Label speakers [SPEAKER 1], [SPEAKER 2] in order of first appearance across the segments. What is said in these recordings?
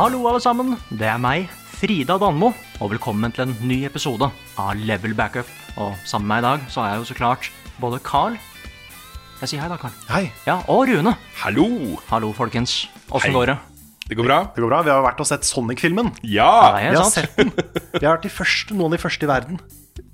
[SPEAKER 1] Hallo, alle sammen. Det er meg, Frida Danmo, og velkommen til en ny episode av Level Backup. Og sammen med meg i dag så er jeg jo så klart både Carl Jeg sier hei, da, Carl.
[SPEAKER 2] Hei.
[SPEAKER 1] Ja, og Rune.
[SPEAKER 2] Hallo.
[SPEAKER 1] Hallo, folkens. Åssen
[SPEAKER 2] Hei.
[SPEAKER 1] går det?
[SPEAKER 2] Det går bra?
[SPEAKER 3] Det går bra. Vi har vært og sett Sonic-filmen.
[SPEAKER 2] Ja.
[SPEAKER 1] Det
[SPEAKER 2] ja.
[SPEAKER 1] er
[SPEAKER 3] Ja,
[SPEAKER 1] sant.
[SPEAKER 3] sett den. Vi har vært de første, noen av de første i verden.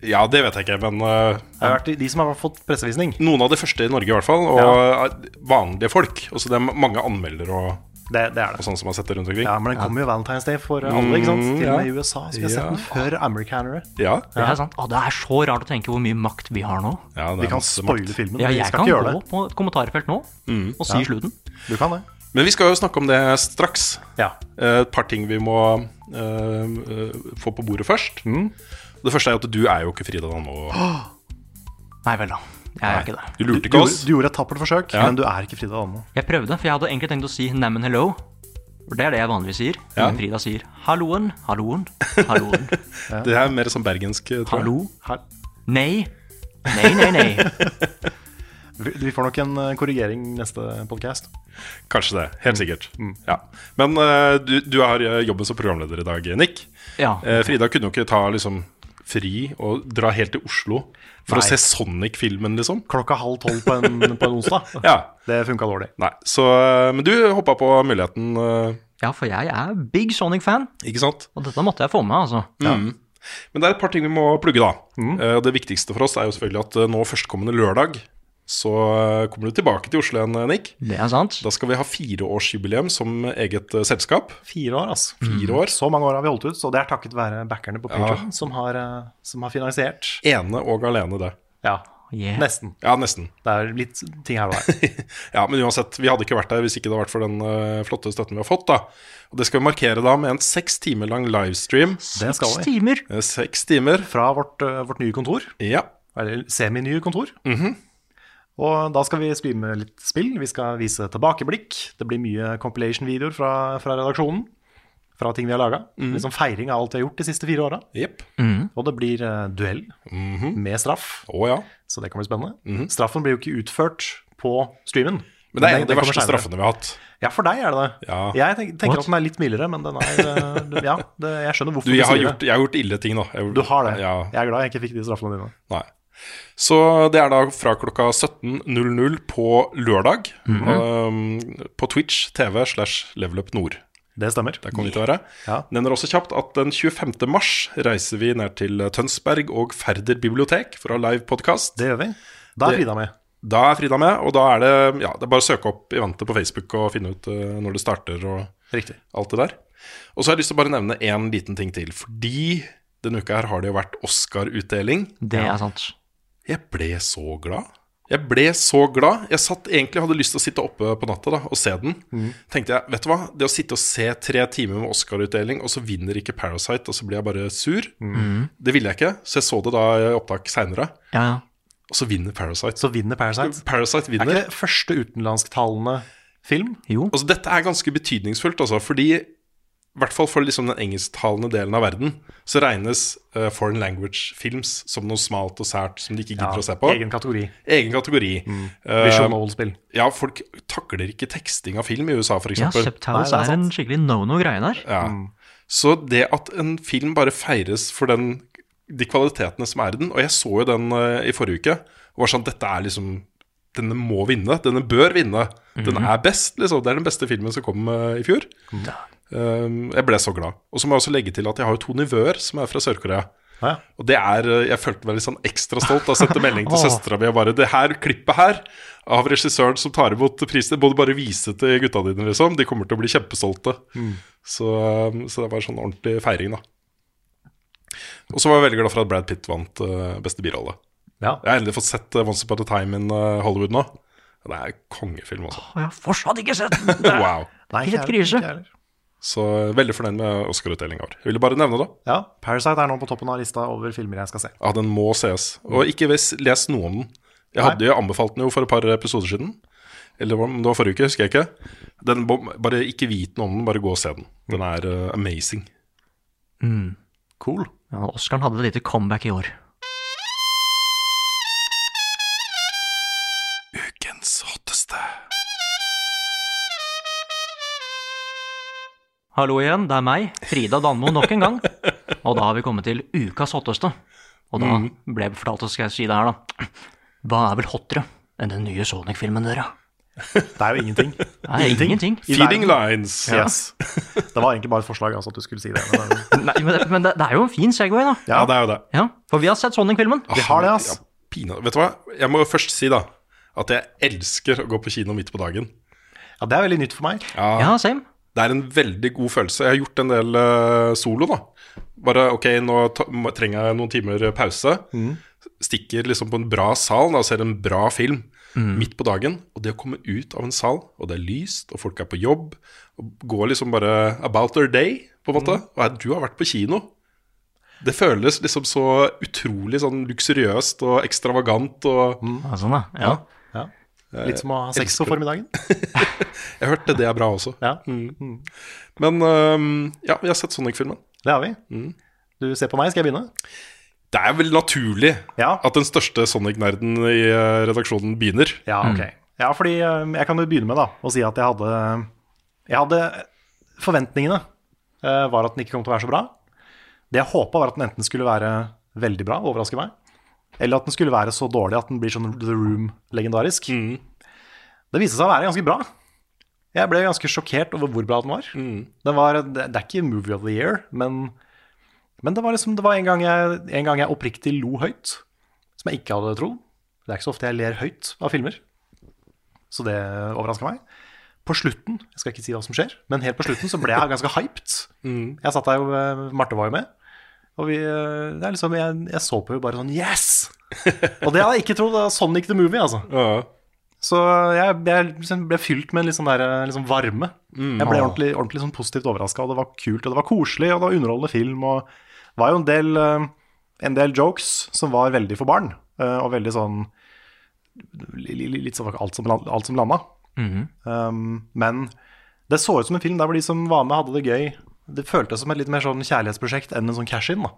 [SPEAKER 2] det vet jeg ikke, men eh,
[SPEAKER 3] Vi har vært de- de som har fått pressevisning.
[SPEAKER 2] noen av de første i Norge i hvert fall. Og eh, vanlige folk. Også det er mange anmeldere og,
[SPEAKER 3] Det, det er
[SPEAKER 2] og
[SPEAKER 3] det.
[SPEAKER 2] sånne som har sett det rundt omkring.
[SPEAKER 3] Ja, Men den kommer jo Valentine's Day for alle, ikke sant?
[SPEAKER 1] Mm,
[SPEAKER 3] Til og med i USA. Så vi har sett
[SPEAKER 2] Ja.
[SPEAKER 3] den før americanere.
[SPEAKER 2] Ja,
[SPEAKER 1] Det er sant. Å, det er så rart å tenke hvor mye makt vi har nå.
[SPEAKER 2] ja, det
[SPEAKER 3] Vi
[SPEAKER 2] er
[SPEAKER 3] kan
[SPEAKER 2] masse makt.
[SPEAKER 3] spoile filmen.
[SPEAKER 1] Ja,
[SPEAKER 3] men vi
[SPEAKER 1] jeg
[SPEAKER 3] skal
[SPEAKER 1] kan
[SPEAKER 3] ikke gjøre
[SPEAKER 1] gå
[SPEAKER 3] det.
[SPEAKER 1] på et kommentarfelt nå og si slutten.
[SPEAKER 3] Du kan det.
[SPEAKER 2] Men vi skal jo snakke om det straks.
[SPEAKER 3] Ja.
[SPEAKER 2] Eh, Et par ting vi må eh, eh, få på bordet først.
[SPEAKER 3] Mm.
[SPEAKER 2] Det første er jo at du er jo ikke Frida Danmo.
[SPEAKER 1] Nei vel, da. Jeg er ikke det.
[SPEAKER 2] Du lurte
[SPEAKER 3] Du,
[SPEAKER 2] ikke oss.
[SPEAKER 3] gjorde- du gjorde et tappert forsøk,
[SPEAKER 2] Ja.
[SPEAKER 3] men du er ikke Frida Danmo.
[SPEAKER 1] Jeg prøvde, for jeg hadde egentlig tenkt å si Neimen hello. For Det er det jeg vanligvis sier.
[SPEAKER 2] Ja.
[SPEAKER 1] Men Frida sier halloen, halloen, halloen.
[SPEAKER 2] Det er mer sånn bergensk, tror jeg.
[SPEAKER 1] Hallo.
[SPEAKER 3] Her-
[SPEAKER 1] Nei. Nei, nei, nei.
[SPEAKER 3] Vi vi får nok en eh, korrigering neste podkast.
[SPEAKER 2] Kanskje det. Helt sikkert.
[SPEAKER 3] Mm.
[SPEAKER 2] Ja. Men eh, du, du har eh, jobben som programleder i dag, Nick.
[SPEAKER 1] Ja.
[SPEAKER 2] Eh, Frida kunne jo ikke ta liksom fri og dra helt til Oslo for
[SPEAKER 3] Nei.
[SPEAKER 2] å se Sonic-filmen, liksom.
[SPEAKER 3] Klokka halv tolv på en, på en onsdag.
[SPEAKER 2] Ja.
[SPEAKER 3] Det funka dårlig.
[SPEAKER 2] Nei, så eh, Men du hoppa på muligheten, eh,
[SPEAKER 1] Ja, for jeg er big Sonic-fan,
[SPEAKER 2] ikke sant?
[SPEAKER 1] og dette måtte jeg få med, altså.
[SPEAKER 3] Mm.
[SPEAKER 2] Men det er et par ting vi må plugge, da. Eh, og det viktigste for oss er jo selvfølgelig at eh, nå førstkommende lørdag så eh, kommer du tilbake til Oslo igjen, eh, Nick.
[SPEAKER 1] Det er sant.
[SPEAKER 2] Da skal vi ha fireårsjubileum som eget eh, selskap.
[SPEAKER 3] Fire år, altså.
[SPEAKER 1] Mm.
[SPEAKER 2] Fire år.
[SPEAKER 3] Så mange år har vi holdt ut, så det er takket være backerne på Patreon som, har, eh, som har finansiert.
[SPEAKER 2] Ene og alene, det.
[SPEAKER 3] Ja,
[SPEAKER 1] Yeah.
[SPEAKER 3] nesten.
[SPEAKER 2] Ja, nesten.
[SPEAKER 3] Det er litt ting her og der.
[SPEAKER 2] Ja, men uansett, vi hadde ikke vært der hvis ikke det hadde vært for den eh, flotte støtten vi har fått, da. Og det skal vi markere da med en seks timer lang livestream.
[SPEAKER 3] Det skal
[SPEAKER 1] Seks
[SPEAKER 3] vi.
[SPEAKER 1] timer.
[SPEAKER 2] Eh, Seks timer.
[SPEAKER 3] Fra vårt, eh, vårt nye kontor,
[SPEAKER 2] Ja.
[SPEAKER 3] eller semi-nye kontor.
[SPEAKER 2] Mhm.
[SPEAKER 3] Og da skal vi streame litt spill. Vi skal vise tilbakeblikk. Det blir mye compilation-videoer fra, fra redaksjonen. Fra ting vi har laga.
[SPEAKER 2] Mhm.
[SPEAKER 3] Liksom feiring av alt vi har gjort de siste fire åra.
[SPEAKER 2] Jepp.
[SPEAKER 3] Og det blir eh, duell
[SPEAKER 2] Mhm.
[SPEAKER 3] med straff,
[SPEAKER 2] Å ja.
[SPEAKER 3] så det kan bli spennende. Straffen blir jo ikke utført på streamen.
[SPEAKER 2] Mhm. Men det er en
[SPEAKER 3] den-
[SPEAKER 2] av de
[SPEAKER 3] den kommer
[SPEAKER 2] verste
[SPEAKER 3] senere.
[SPEAKER 2] straffene vi har hatt.
[SPEAKER 3] Ja, for deg er det det.
[SPEAKER 2] Ja.
[SPEAKER 3] Jeg tenk, tenker
[SPEAKER 1] What?
[SPEAKER 3] at den er litt mildere, men den er eh, det- Ja, det, jeg skjønner hvorfor
[SPEAKER 2] Du, jeg har
[SPEAKER 3] sier
[SPEAKER 2] gjort, jeg har gjort ille ting nå. Jeg har gjort-
[SPEAKER 3] Du har det.
[SPEAKER 2] Ja,
[SPEAKER 3] Jeg er glad jeg ikke fikk de straffene dine.
[SPEAKER 2] nei. Så det er da fra klokka 17.00 på lørdag
[SPEAKER 3] Mhm.
[SPEAKER 2] um, på Twitch TV slash Levelup Nord.
[SPEAKER 3] Det stemmer.
[SPEAKER 2] Der kommer vi til å være.
[SPEAKER 3] Ja.
[SPEAKER 2] Nevner også kjapt at den 25. mars reiser vi ned til Tønsberg og Færder bibliotek for å ha live podkast.
[SPEAKER 3] Det gjør vi. Da er
[SPEAKER 2] Det-
[SPEAKER 3] Frida med.
[SPEAKER 2] Da er Frida med, og da er det, ja, det er bare å søke opp eventet på Facebook og finne ut eh, når det starter og
[SPEAKER 3] Riktig.
[SPEAKER 2] alt det der. Og så har jeg lyst til å bare nevne én liten ting til, fordi denne uka her har det jo vært Oscar-utdeling.
[SPEAKER 1] Det er sant.
[SPEAKER 2] Jeg ble så glad. Jeg ble så glad. Jeg satt egentlig hadde lyst til å sitte oppe på natta da, og se den.
[SPEAKER 3] Mm.
[SPEAKER 2] Tenkte jeg, vet du hva, det å sitte og se tre timer med Oscar-utdeling, og så vinner ikke Parasite, og så blir jeg bare sur.
[SPEAKER 3] Mm.
[SPEAKER 2] Det ville jeg ikke, så jeg så det da i opptak seinere.
[SPEAKER 1] Ja, ja.
[SPEAKER 2] Og så vinner Parasite.
[SPEAKER 3] Så vinner Parasite.
[SPEAKER 2] Parasite
[SPEAKER 3] Er
[SPEAKER 2] vinner.
[SPEAKER 3] ikke det første utenlandsktalende film?
[SPEAKER 1] Jo.
[SPEAKER 2] Altså, dette er ganske betydningsfullt, altså, fordi i hvert fall for liksom den engelsktalende delen av verden så regnes eh, foreign language films som noe smalt og sært som de ikke gidder å se på. Egen,
[SPEAKER 3] Egen kategori.
[SPEAKER 2] kategori. Eh,
[SPEAKER 3] Visual novel-spill.
[SPEAKER 2] ja, folk takler ikke teksting av film i USA, f.eks.
[SPEAKER 1] Ja,
[SPEAKER 2] eksempel
[SPEAKER 1] subtitles
[SPEAKER 3] Nei, det er
[SPEAKER 1] er en skikkelig no-no-greie der.
[SPEAKER 2] ja. Så det at en film bare feires for den, de kvalitetene som er i den Og jeg så jo den eh, i forrige uke og var sånn Dette er liksom Denne må vinne. Denne bør vinne. Den er best, liksom. Det er den beste filmen som kom eh, i fjor. Ehm, Um, jeg ble så glad. Og så må jeg også legge til at jeg har jo to nivøer som er fra Sør-Korea.
[SPEAKER 3] Ah, ja.
[SPEAKER 2] Og det er, eh, jeg følte meg litt sånn ekstra stolt av å sendte melding til søstera mi og bare Det her klippet her av regissøren som tar imot prisen, må du bare vise til gutta dine, liksom. De kommer til å bli kjempestolte. Så, eh, så det var sånn ordentlig feiring, da. Og så var jeg veldig glad for at Brad Pitt vant eh, beste birolle.
[SPEAKER 3] Ja.
[SPEAKER 2] Jeg har endelig fått sett eh, Once Upon a Time in eh, Hollywood nå. Og Det er kongefilm, altså.
[SPEAKER 1] Og jeg har fortsatt ikke sett den! Det er
[SPEAKER 2] Wow.
[SPEAKER 3] Nei,
[SPEAKER 1] Helt
[SPEAKER 3] ikke jeg-
[SPEAKER 1] krise.
[SPEAKER 3] ikke jeg heller.
[SPEAKER 2] Så eh, veldig fornøyd med Oscar-utdelinga vår. Jeg ville bare nevne det.
[SPEAKER 3] Ja, Parasite er nå på toppen av lista over filmer jeg skal se.
[SPEAKER 2] Ja, den må sees. Og ikke vis- les noe om den. Jeg hadde jo anbefalt den jo for et par episoder siden. Eller om det var forrige uke, husker jeg ikke. Den, må- bare ikke vit noe om den, bare gå og se den. Den er eh, amazing. Cool.
[SPEAKER 1] Ja, Oscaren hadde et lite comeback i år.
[SPEAKER 2] Ukens hotteste.
[SPEAKER 1] Hallo igjen, det er meg, Frida Danmo, nok en gang. Og da har vi kommet til ukas hotteste. Og da
[SPEAKER 3] Mm.
[SPEAKER 1] ble jeg fortalt, så skal jeg si det her, da. Hva er vel hottere enn den nye Sonic-filmen, dere?
[SPEAKER 3] Det er jo ingenting.
[SPEAKER 1] Det er ingenting.
[SPEAKER 3] I
[SPEAKER 2] Feeding
[SPEAKER 3] verden.
[SPEAKER 2] lines.
[SPEAKER 3] Yes. Det var egentlig bare et forslag altså, at du skulle si det. Men,
[SPEAKER 1] Nei, men det, men det, det er jo en fin Segway, da.
[SPEAKER 2] Ja, det er jo det. Ah,
[SPEAKER 1] Ja, For vi har sett Sonic-filmen.
[SPEAKER 3] vi har det, ass.
[SPEAKER 2] Ja, pina. Vet du hva? Jeg må jo først si da at jeg elsker å gå på kino midt på dagen.
[SPEAKER 3] Ja, Det er veldig nytt for meg.
[SPEAKER 1] Ja, same.
[SPEAKER 2] Det er en veldig god følelse. Jeg har gjort en del eh, solo, da. Bare ok, nå ta, må- trenger jeg noen timer pause. Stikker liksom på en bra sal da, og ser en bra film midt på dagen. Og det å komme ut av en sal, og det er lyst, og folk er på jobb, og går liksom bare about their day, på en måte. Og er- du har vært på kino. Det føles liksom så utrolig sånn luksuriøst og ekstravagant og
[SPEAKER 1] Ja, sånn, da. Ja.
[SPEAKER 3] Ja. Litt som å ha sex på
[SPEAKER 2] elsker
[SPEAKER 3] formiddagen.
[SPEAKER 2] Jeg hørte det er bra også.
[SPEAKER 3] Ja,
[SPEAKER 2] Men ehm, ja, vi har sett Sonic-filmen.
[SPEAKER 3] Det har vi. Du ser på meg, skal jeg begynne?
[SPEAKER 2] Det er vel naturlig
[SPEAKER 3] Ja.
[SPEAKER 2] at den største Sonic-nerden i eh, redaksjonen begynner.
[SPEAKER 3] Ja, ok. Ja, fordi um, jeg kan jo begynne med da, å si at jeg hadde, jeg hadde Forventningene eh, var at den ikke kom til å være så bra. Det jeg håpa, var at den enten skulle være veldig bra, overraske meg, eller at den skulle være så dårlig at den blir sånn The Room-legendarisk. Det viste seg å være ganske bra. Jeg ble ganske sjokkert over hvor bra den var. Den var det, det er ikke Movie of the Year, men, men det var liksom, det var en gang jeg, en gang jeg oppriktig lo høyt, som jeg ikke hadde trodd. Det er ikke så ofte jeg ler høyt av filmer, så det overraska meg. På slutten, jeg skal ikke si hva som skjer, men helt på slutten så ble jeg ganske hyped. Jeg satt der, og Marte var jo med, og vi, eh, det er liksom, jeg, jeg så på henne bare sånn Yes! Og det hadde jeg ikke trodd. det var Sonic the Movie, altså.
[SPEAKER 2] Ja.
[SPEAKER 3] Så jeg, jeg liksom ble fylt med en litt sånn, der, eh, liksom varme. Jeg ble ordentlig, ordentlig sånn positivt overraska, og det var kult, og det var koselig, og det var underholdende film. Og det var jo en del, eh, en del jokes som var veldig for barn, eh, og veldig sånn li- li- Litt sånn alt som, land- alt som landa. um, men det så ut som en film der hvor de som var med, hadde det gøy. Det føltes som et litt mer sånn kjærlighetsprosjekt enn en sånn cash-in. da.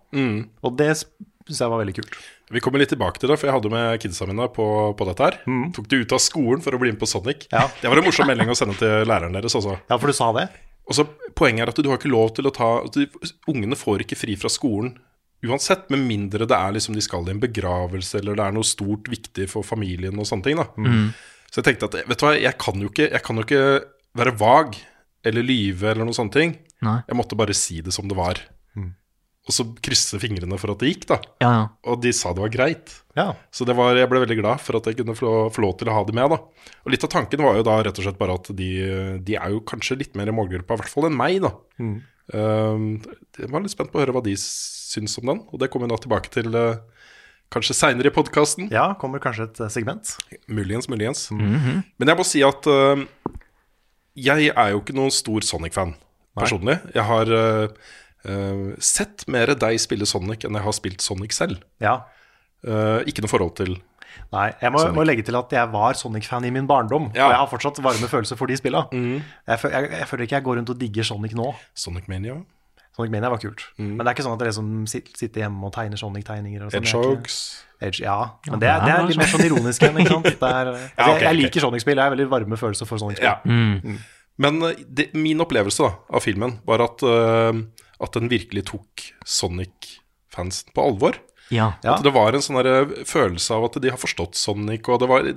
[SPEAKER 3] Og det syns jeg var veldig kult.
[SPEAKER 2] Vi kommer litt tilbake til det, for jeg hadde med kidsa mine på, på dette her. Tok de ut av skolen for å bli med på Sonic.
[SPEAKER 3] Mm. Ja.
[SPEAKER 2] Det var en morsom melding å sende til læreren deres også.
[SPEAKER 3] Ja, for du sa det?
[SPEAKER 2] Og så Poenget er at du har ikke lov til å ta at du, Ungene får ikke fri fra skolen uansett, med mindre det er liksom de skal i en begravelse eller det er noe stort viktig for familien og sånne ting. da. Så jeg tenkte at vet du hva, jeg kan jo ikke, jeg kan jo ikke være vag eller lyve eller noen sånne ting.
[SPEAKER 1] Nei.
[SPEAKER 2] Jeg måtte bare si det som det var. Og så krysse fingrene for at det gikk, da.
[SPEAKER 1] Ja, ja.
[SPEAKER 2] Og de sa det var greit.
[SPEAKER 3] Ja.
[SPEAKER 2] Så det var, jeg ble veldig glad for at jeg kunne få, få lov til å ha de med. da. Og Litt av tanken var jo da rett og slett bare at de, de er jo kanskje litt mer i målgruppa, i hvert fall enn meg. da. Um, jeg var litt spent på å høre hva de syns om den, og det kommer vi da tilbake til eh, kanskje seinere i podkasten.
[SPEAKER 3] Ja, kommer kanskje et segment.
[SPEAKER 2] Muligens, muligens. Men jeg må si at eh, jeg er jo ikke noen stor Sonic-fan personlig. Jeg har eh, eh, sett mer deg spille Sonic enn jeg har spilt Sonic selv.
[SPEAKER 3] Ja.
[SPEAKER 2] Eh, ikke noe forhold til
[SPEAKER 3] Nei, jeg må, må legge til at jeg var Sonic-fan i min barndom.
[SPEAKER 2] Ja. Mm.
[SPEAKER 3] Og jeg har fortsatt varme følelser for de spilla. Jeg, fø- jeg, jeg føler ikke jeg går rundt og digger Sonic nå.
[SPEAKER 2] Sonic Mania.
[SPEAKER 3] Sonic Mania var kult.
[SPEAKER 2] Mm.
[SPEAKER 3] Men det er ikke sånn at jeg liksom sit- sitter hjemme og tegner Sonic-tegninger. og sånn. Jeg er ikke-
[SPEAKER 2] Hedgehogs.
[SPEAKER 3] Edge, ja. Men det, er-
[SPEAKER 1] det er
[SPEAKER 3] det er
[SPEAKER 1] bra
[SPEAKER 3] litt mer sånn ironisk enn, ikke sant. Det er, altså,
[SPEAKER 2] Ja, ok,
[SPEAKER 3] jeg, jeg
[SPEAKER 2] ok.
[SPEAKER 3] liker Sonic-spill. Jeg har veldig varme følelser for Sonic-spill.
[SPEAKER 2] Ja.
[SPEAKER 1] Mm.
[SPEAKER 2] Men eh, det, min opplevelse da, av filmen var at, eh, at den virkelig tok Sonic-fansen på alvor.
[SPEAKER 1] ja.
[SPEAKER 3] Ja.
[SPEAKER 2] At det var en sånn der, eh, følelse av at de har forstått Sonic, og det var I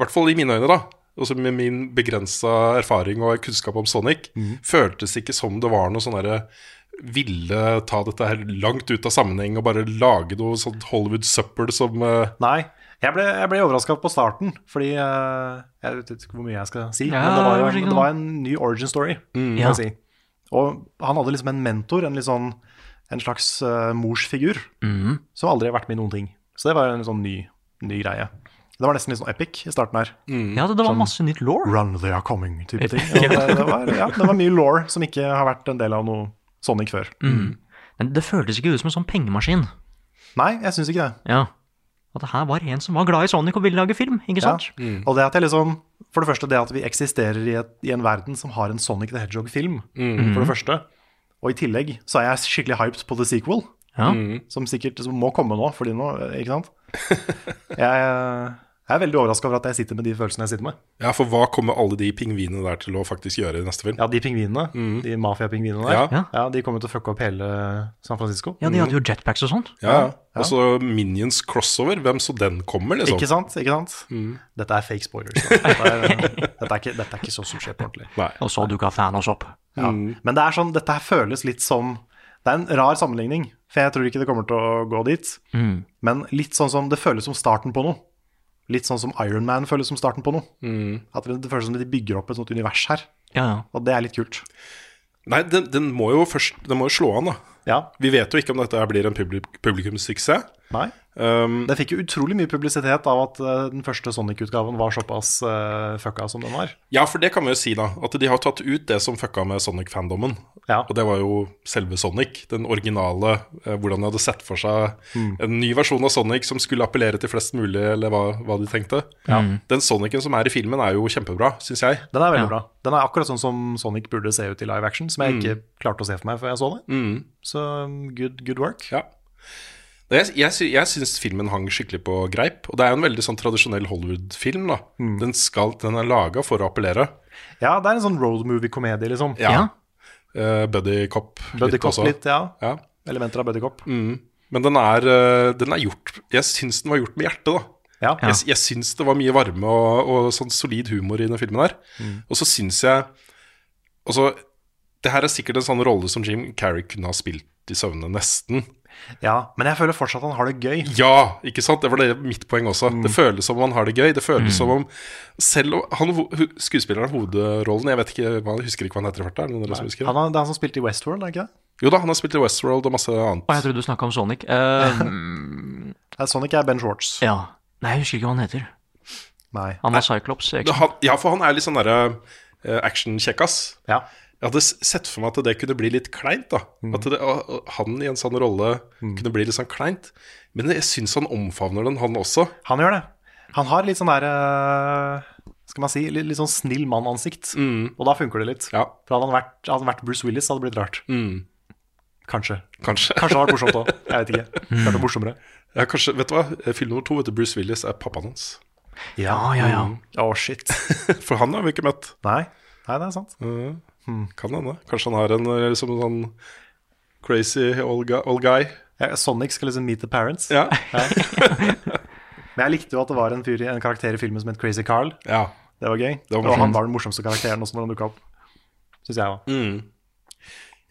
[SPEAKER 2] hvert fall i mine øyne, da. Også med min
[SPEAKER 3] Mhm.
[SPEAKER 2] begrensa erfaring og kunnskap om Sonic, føltes ikke som det var noe sånn derre ville ta dette her langt ut av sammenheng og bare lage noe sånt Hollywood-søppel som eh,
[SPEAKER 3] Nei. Jeg ble, jeg ble overraska på starten, fordi eh, Jeg vet ikke hvor mye jeg skal si,
[SPEAKER 1] Ja,
[SPEAKER 3] men det var,
[SPEAKER 1] vær så
[SPEAKER 3] jo,
[SPEAKER 1] god.
[SPEAKER 3] det var en ny origin story,
[SPEAKER 2] Mm.
[SPEAKER 3] kan
[SPEAKER 1] Ja.
[SPEAKER 3] jeg si. Og han hadde liksom en mentor, en, litt sånn, en slags eh, morsfigur, som aldri har vært med i noen ting. Så det var jo en sånn ny, ny greie. Det var nesten litt sånn epic i starten her.
[SPEAKER 1] Ja, det, det
[SPEAKER 3] sånn
[SPEAKER 1] var masse nytt law.
[SPEAKER 3] Run they are coming, type ting. Og det, det, var, ja, det var mye law som ikke har vært en del av noe Sonic før.
[SPEAKER 1] Men det føltes ikke ut som en sånn pengemaskin.
[SPEAKER 3] Nei, jeg syns ikke det.
[SPEAKER 1] Ja. At det her var en som var glad i Sonic og ville lage film, ikke
[SPEAKER 3] Ja.
[SPEAKER 1] sant?
[SPEAKER 3] Og det at jeg liksom For det første det at vi eksisterer i, et, i en verden som har en Sonic the Hedgehog-film. For det første. Og i tillegg så er jeg skikkelig hyped på the sequel,
[SPEAKER 1] Ja.
[SPEAKER 3] som sikkert som må komme nå, fordi nå Ikke sant? Jeg, jeg er veldig overraska over at jeg sitter med de følelsene jeg sitter med.
[SPEAKER 2] Ja, for hva kommer alle de pingvinene der til å faktisk gjøre i neste film?
[SPEAKER 3] Ja, de pingvinene, de mafiapingvinene
[SPEAKER 2] Ja,
[SPEAKER 3] der,
[SPEAKER 2] Mhm. ja.
[SPEAKER 1] Ja.
[SPEAKER 3] ja, de kommer til å fucke opp hele San Francisco.
[SPEAKER 1] ja, de hadde jo jetpacks og sånt.
[SPEAKER 2] ja. Og så Minions crossover, hvem så Mhm. den kommer, liksom?
[SPEAKER 3] Ikke sant? ikke sant? Dette er fake spoilers. da. Dette er, dette, er ikke, dette er ikke så som skjer på ordentlig.
[SPEAKER 2] Nei.
[SPEAKER 1] Og så dukka Thanos opp.
[SPEAKER 3] Ja.
[SPEAKER 2] Mhm.
[SPEAKER 3] Men det er sånn, dette her føles litt som Det er en rar sammenligning, for jeg tror ikke det kommer til å gå dit.
[SPEAKER 2] Mhm.
[SPEAKER 3] Men litt sånn som det føles som starten på noe. Litt sånn som Iron Man føles som starten på noe.
[SPEAKER 2] Mhm.
[SPEAKER 3] At det det føles som de bygger opp et sånt univers her,
[SPEAKER 1] Ja, ja.
[SPEAKER 3] og det er litt kult.
[SPEAKER 2] Nei, den, den må jo først Den må jo slå an, da.
[SPEAKER 3] Ja,
[SPEAKER 2] Vi vet jo ikke om dette her blir en publik publikumssuksess.
[SPEAKER 3] nei.
[SPEAKER 2] Um,
[SPEAKER 3] Det fikk jo utrolig mye publisitet av at eh, den første Sonic-utgaven var såpass eh, fucka som den var.
[SPEAKER 2] ja, for det kan vi jo si, da. At de har tatt ut det som fucka med Sonic-fandommen.
[SPEAKER 3] Ja.
[SPEAKER 2] Og det var jo selve Sonic. Den originale, eh, hvordan de hadde sett for seg
[SPEAKER 3] Mm.
[SPEAKER 2] en ny versjon av Sonic som skulle appellere til flest mulig, eller hva, hva de tenkte. Den Sonicen som er i filmen, er jo kjempebra, syns jeg.
[SPEAKER 3] Den er veldig
[SPEAKER 1] Ja.
[SPEAKER 3] bra. Den er akkurat sånn som Sonic burde se ut i live action, som jeg ikke klarte å se for meg før jeg så det.
[SPEAKER 2] Mm.
[SPEAKER 3] Så um, good, good work.
[SPEAKER 2] Ja. Det, jeg jeg, sy- jeg syns filmen hang skikkelig på greip. Og det er jo en veldig sånn tradisjonell Hollywood-film. da
[SPEAKER 3] Mm.
[SPEAKER 2] Den, skal, den er laga for å appellere.
[SPEAKER 3] Ja, det er en sånn road movie-komedie, liksom.
[SPEAKER 2] Ja.
[SPEAKER 1] Ja.
[SPEAKER 2] Eh, buddy cop
[SPEAKER 3] Buddy Cop litt, ja.
[SPEAKER 2] Ja. Mm.
[SPEAKER 3] Elementer av Buddy Cop.
[SPEAKER 2] Men den er, eh, den er gjort Jeg syns den var gjort med hjertet, da.
[SPEAKER 3] Ja.
[SPEAKER 2] Jeg, jeg syns det var mye varme og, og sånn solid humor i den filmen her.
[SPEAKER 3] Mm.
[SPEAKER 2] Og så syns jeg Altså, det her er sikkert en sånn rolle som Jim Carrey kunne ha spilt i søvne, nesten.
[SPEAKER 3] ja, men jeg føler fortsatt han har det gøy.
[SPEAKER 2] Ja, ikke sant? Det var det mitt poeng også. Det føles som om han har det gøy. Det føles som om selv om han, ho- Skuespilleren av hovedrollen Jeg vet ikke, hva- jeg husker ikke hva han heter i farta. er det noen av dere som husker
[SPEAKER 3] Han
[SPEAKER 2] det?
[SPEAKER 3] er, det er han som spilte i Westworld, er det ikke det?
[SPEAKER 2] Jo da, han har spilt i Westworld og masse annet.
[SPEAKER 1] Og jeg trodde du snakka om Sonic. Eh,
[SPEAKER 3] Nei, Sonic er Ben Schwartz.
[SPEAKER 1] ja. Nei, jeg husker ikke hva han heter.
[SPEAKER 3] Nei.
[SPEAKER 1] Han var Cyclops. ikke
[SPEAKER 2] Det-
[SPEAKER 1] sant?
[SPEAKER 2] han- Ja, for han er litt sånn derre eh, action-kjekkas.
[SPEAKER 3] Ja.
[SPEAKER 2] Jeg hadde s- sett for meg at det kunne bli litt kleint. da At det, og- og han i en sånn rolle kunne bli litt sånn kleint. Men jeg syns han omfavner den, han også.
[SPEAKER 3] Han gjør det. Han har litt sånn der eh, Skal man si litt, litt sånn snill mann-ansikt. Og da funker det litt.
[SPEAKER 2] Mm. Ja.
[SPEAKER 3] For hadde han vært, hadde han vært Bruce Willis, hadde det blitt rart. Kanskje. Kanskje
[SPEAKER 2] Kanskje.
[SPEAKER 3] det hadde vært morsomt òg. Jeg vet ikke. Kanskje morsommere.
[SPEAKER 2] Ja, kanskje vet du hva? Film nummer to etter Bruce Willis er pappaen hans.
[SPEAKER 3] Ja,
[SPEAKER 1] ja, ja.
[SPEAKER 3] Mm. Å, shit.
[SPEAKER 2] For han har vi ikke møtt.
[SPEAKER 3] Nei. Nei, det er sant.
[SPEAKER 2] Kan hende. Kanskje han har en eh, liksom en sånn crazy old guy. Old guy.
[SPEAKER 3] Ja, Sonic skal liksom meet the parents.
[SPEAKER 2] Ja.
[SPEAKER 3] Men jeg likte jo at det var en, fyr, i- en karakter i filmen som het Crazy Carl.
[SPEAKER 2] ja.
[SPEAKER 3] Det var gøy.
[SPEAKER 2] var
[SPEAKER 3] og
[SPEAKER 2] morsomt.
[SPEAKER 3] han var den morsomste karakteren også når han dukka opp. Synes jeg også.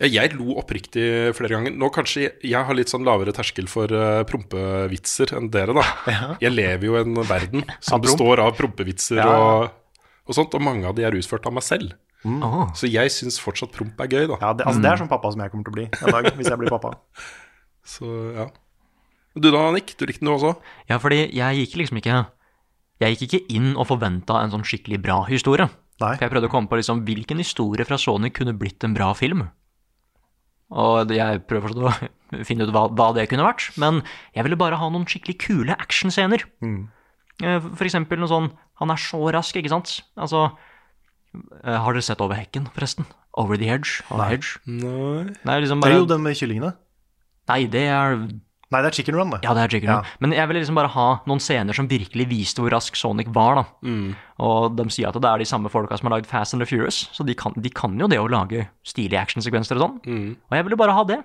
[SPEAKER 2] Ja, jeg lo oppriktig flere ganger. Nå kanskje jeg, jeg har litt sånn lavere terskel for eh, prompevitser enn dere, da. Jeg lever jo i en verden som
[SPEAKER 3] promp.
[SPEAKER 2] består av prompevitser
[SPEAKER 3] Ja.
[SPEAKER 2] og, og sånt, og mange av de er utført av meg selv.
[SPEAKER 1] Åh.
[SPEAKER 2] Så jeg syns fortsatt promp er gøy, da.
[SPEAKER 3] Ja, det, altså, det er sånn pappa som jeg kommer til å bli en dag, hvis jeg blir pappa.
[SPEAKER 2] Så, ja. Du da, Nick? Du likte den du også?
[SPEAKER 1] Ja, fordi jeg gikk liksom ikke Jeg gikk ikke inn og forventa en sånn skikkelig bra historie.
[SPEAKER 3] Nei.
[SPEAKER 1] For jeg prøvde å komme på liksom hvilken historie fra Sonic kunne blitt en bra film. Og det- jeg prøver fortsatt å finne ut hva, hva det kunne vært, men jeg ville bare ha noen skikkelig kule actionscener.
[SPEAKER 3] Mm.
[SPEAKER 1] Eh, For eksempel noe sånn Han er så rask, ikke sant? Altså eh, Har dere sett Over hekken, forresten? Over the edge? Over hedge?
[SPEAKER 2] Nei.
[SPEAKER 1] Nei, liksom
[SPEAKER 3] Det er jo
[SPEAKER 1] bare,
[SPEAKER 3] den med kyllingene.
[SPEAKER 1] nei, det er
[SPEAKER 3] Nei, det er Chicken Run, det.
[SPEAKER 1] ja, det er Chicken Run. Men jeg ville liksom bare ha noen scener som virkelig viste hvor rask Sonic var. da. Og de sier at det er de samme folka som har lagd Fast and the Furious, så de kan, de kan jo det å lage stilige actionsekvenser og sånn.
[SPEAKER 2] Mm.
[SPEAKER 1] Og jeg ville bare ha det.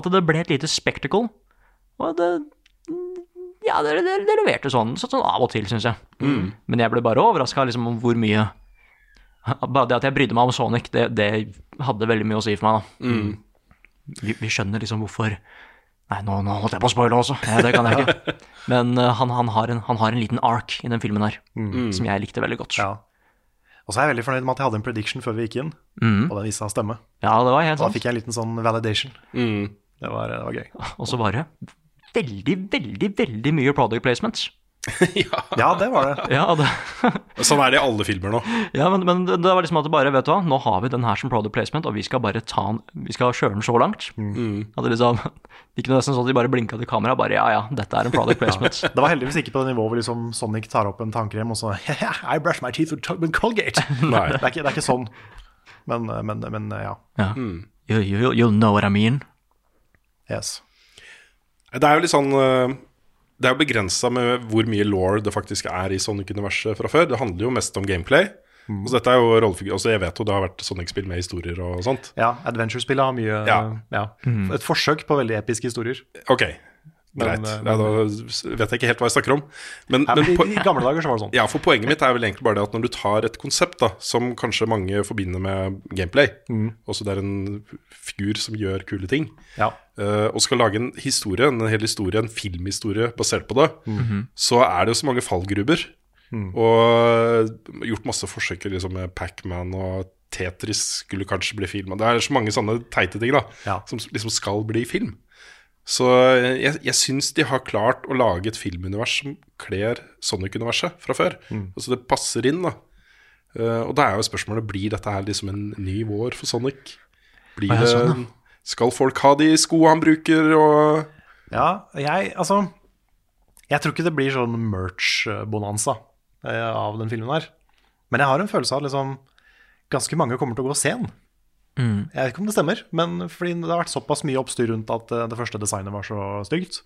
[SPEAKER 1] At det ble et lite spectacle. Og det Ja, det, det, det leverte sånn, så- sånn av og til, syns jeg. Men jeg ble bare overraska liksom, om hvor mye Bare det at jeg brydde meg om Sonic, det, det hadde veldig mye å si for meg, da. Vi, vi skjønner liksom hvorfor Nei, nå, nå holdt jeg på å spoile også. Ja, det kan jeg ikke. Men eh, han, han, har en, han har en liten ark i den filmen her, som jeg likte veldig godt.
[SPEAKER 3] Ja. Og så er jeg veldig fornøyd med at jeg hadde en prediction før vi gikk inn,
[SPEAKER 2] Mm.
[SPEAKER 3] og den viste seg å stemme.
[SPEAKER 1] Ja, det var helt
[SPEAKER 3] Da
[SPEAKER 1] sant.
[SPEAKER 3] fikk jeg en liten sånn validation.
[SPEAKER 2] Mm.
[SPEAKER 3] Det, var, det var gøy.
[SPEAKER 1] Og så var det veldig, veldig, veldig mye product placement.
[SPEAKER 2] ja.
[SPEAKER 3] Ja, det var det.
[SPEAKER 1] Ja, det,
[SPEAKER 2] Sånn er det i alle filmer nå.
[SPEAKER 1] ja men, men det var liksom at det bare, vet du hva, nå har vi den her som product placement, og vi skal bare ta den, vi skal kjøre den så langt. At det liksom, det gikk nesten sånn at de bare blinket til kamera, bare ja, ja, dette er en product placement.
[SPEAKER 3] Det var heldigvis ikke på det nivået hvor liksom Sonic tar opp en tannkrem og så I brush my teeth with to- with Colgate.
[SPEAKER 2] Nei.
[SPEAKER 3] Det er ikke, det er ikke sånn. Men, men, men ja.
[SPEAKER 1] Ja. You, you, you know what I mean.
[SPEAKER 3] Yes.
[SPEAKER 2] Det er jo litt sånn eh, Det er jo begrensa med hvor mye law det faktisk er i Sonic-universet fra før. Det handler jo mest om gameplay.
[SPEAKER 3] Mm.
[SPEAKER 2] Og så dette er jo rollefigur Altså Jeg vet jo det har vært Sonic-spill med historier og sånt.
[SPEAKER 3] Ja, Adventure-spillet har mye
[SPEAKER 2] Ja. Mm.
[SPEAKER 3] ja. Et forsøk på veldig episke historier.
[SPEAKER 2] Ok,
[SPEAKER 3] Men,
[SPEAKER 2] greit.
[SPEAKER 3] eh,
[SPEAKER 2] Ja, da vet jeg ikke helt hva jeg snakker om. Men,
[SPEAKER 3] Ja,
[SPEAKER 2] men
[SPEAKER 3] men,
[SPEAKER 2] po-
[SPEAKER 3] I i gamle dager så var det sånn.
[SPEAKER 2] ja, for poenget mitt er vel egentlig bare det at når du tar et konsept da som kanskje mange forbinder med gameplay,
[SPEAKER 3] Mm.
[SPEAKER 2] også det er en figur som gjør kule ting,
[SPEAKER 3] Ja.
[SPEAKER 2] eh, og skal lage en historie, en hel historie, en filmhistorie basert på det, så er det jo så mange fallgruber. Og gjort masse forsøk liksom, med Pac-Man og Tetris skulle kanskje bli filma. Det er så mange sånne teite ting da,
[SPEAKER 3] Ja.
[SPEAKER 2] som liksom skal bli film. Så jeg, jeg syns de har klart å lage et filmunivers som kler Sonic-universet fra før. Altså det passer inn, da. Eh, og da er jo spørsmålet blir dette her liksom en ny vår for Sonic. Blir
[SPEAKER 1] Å, ja,
[SPEAKER 2] det,
[SPEAKER 1] sånn,
[SPEAKER 2] skal folk ha de skoa han bruker, og
[SPEAKER 3] Ja, jeg Altså, jeg tror ikke det blir sånn merch-bonanza eh, av den filmen her. Men jeg har en følelse av at liksom, ganske mange kommer til å gå sen. Jeg vet ikke om det stemmer, men fordi det har vært såpass mye oppstyr rundt at eh, det første designet var så stygt.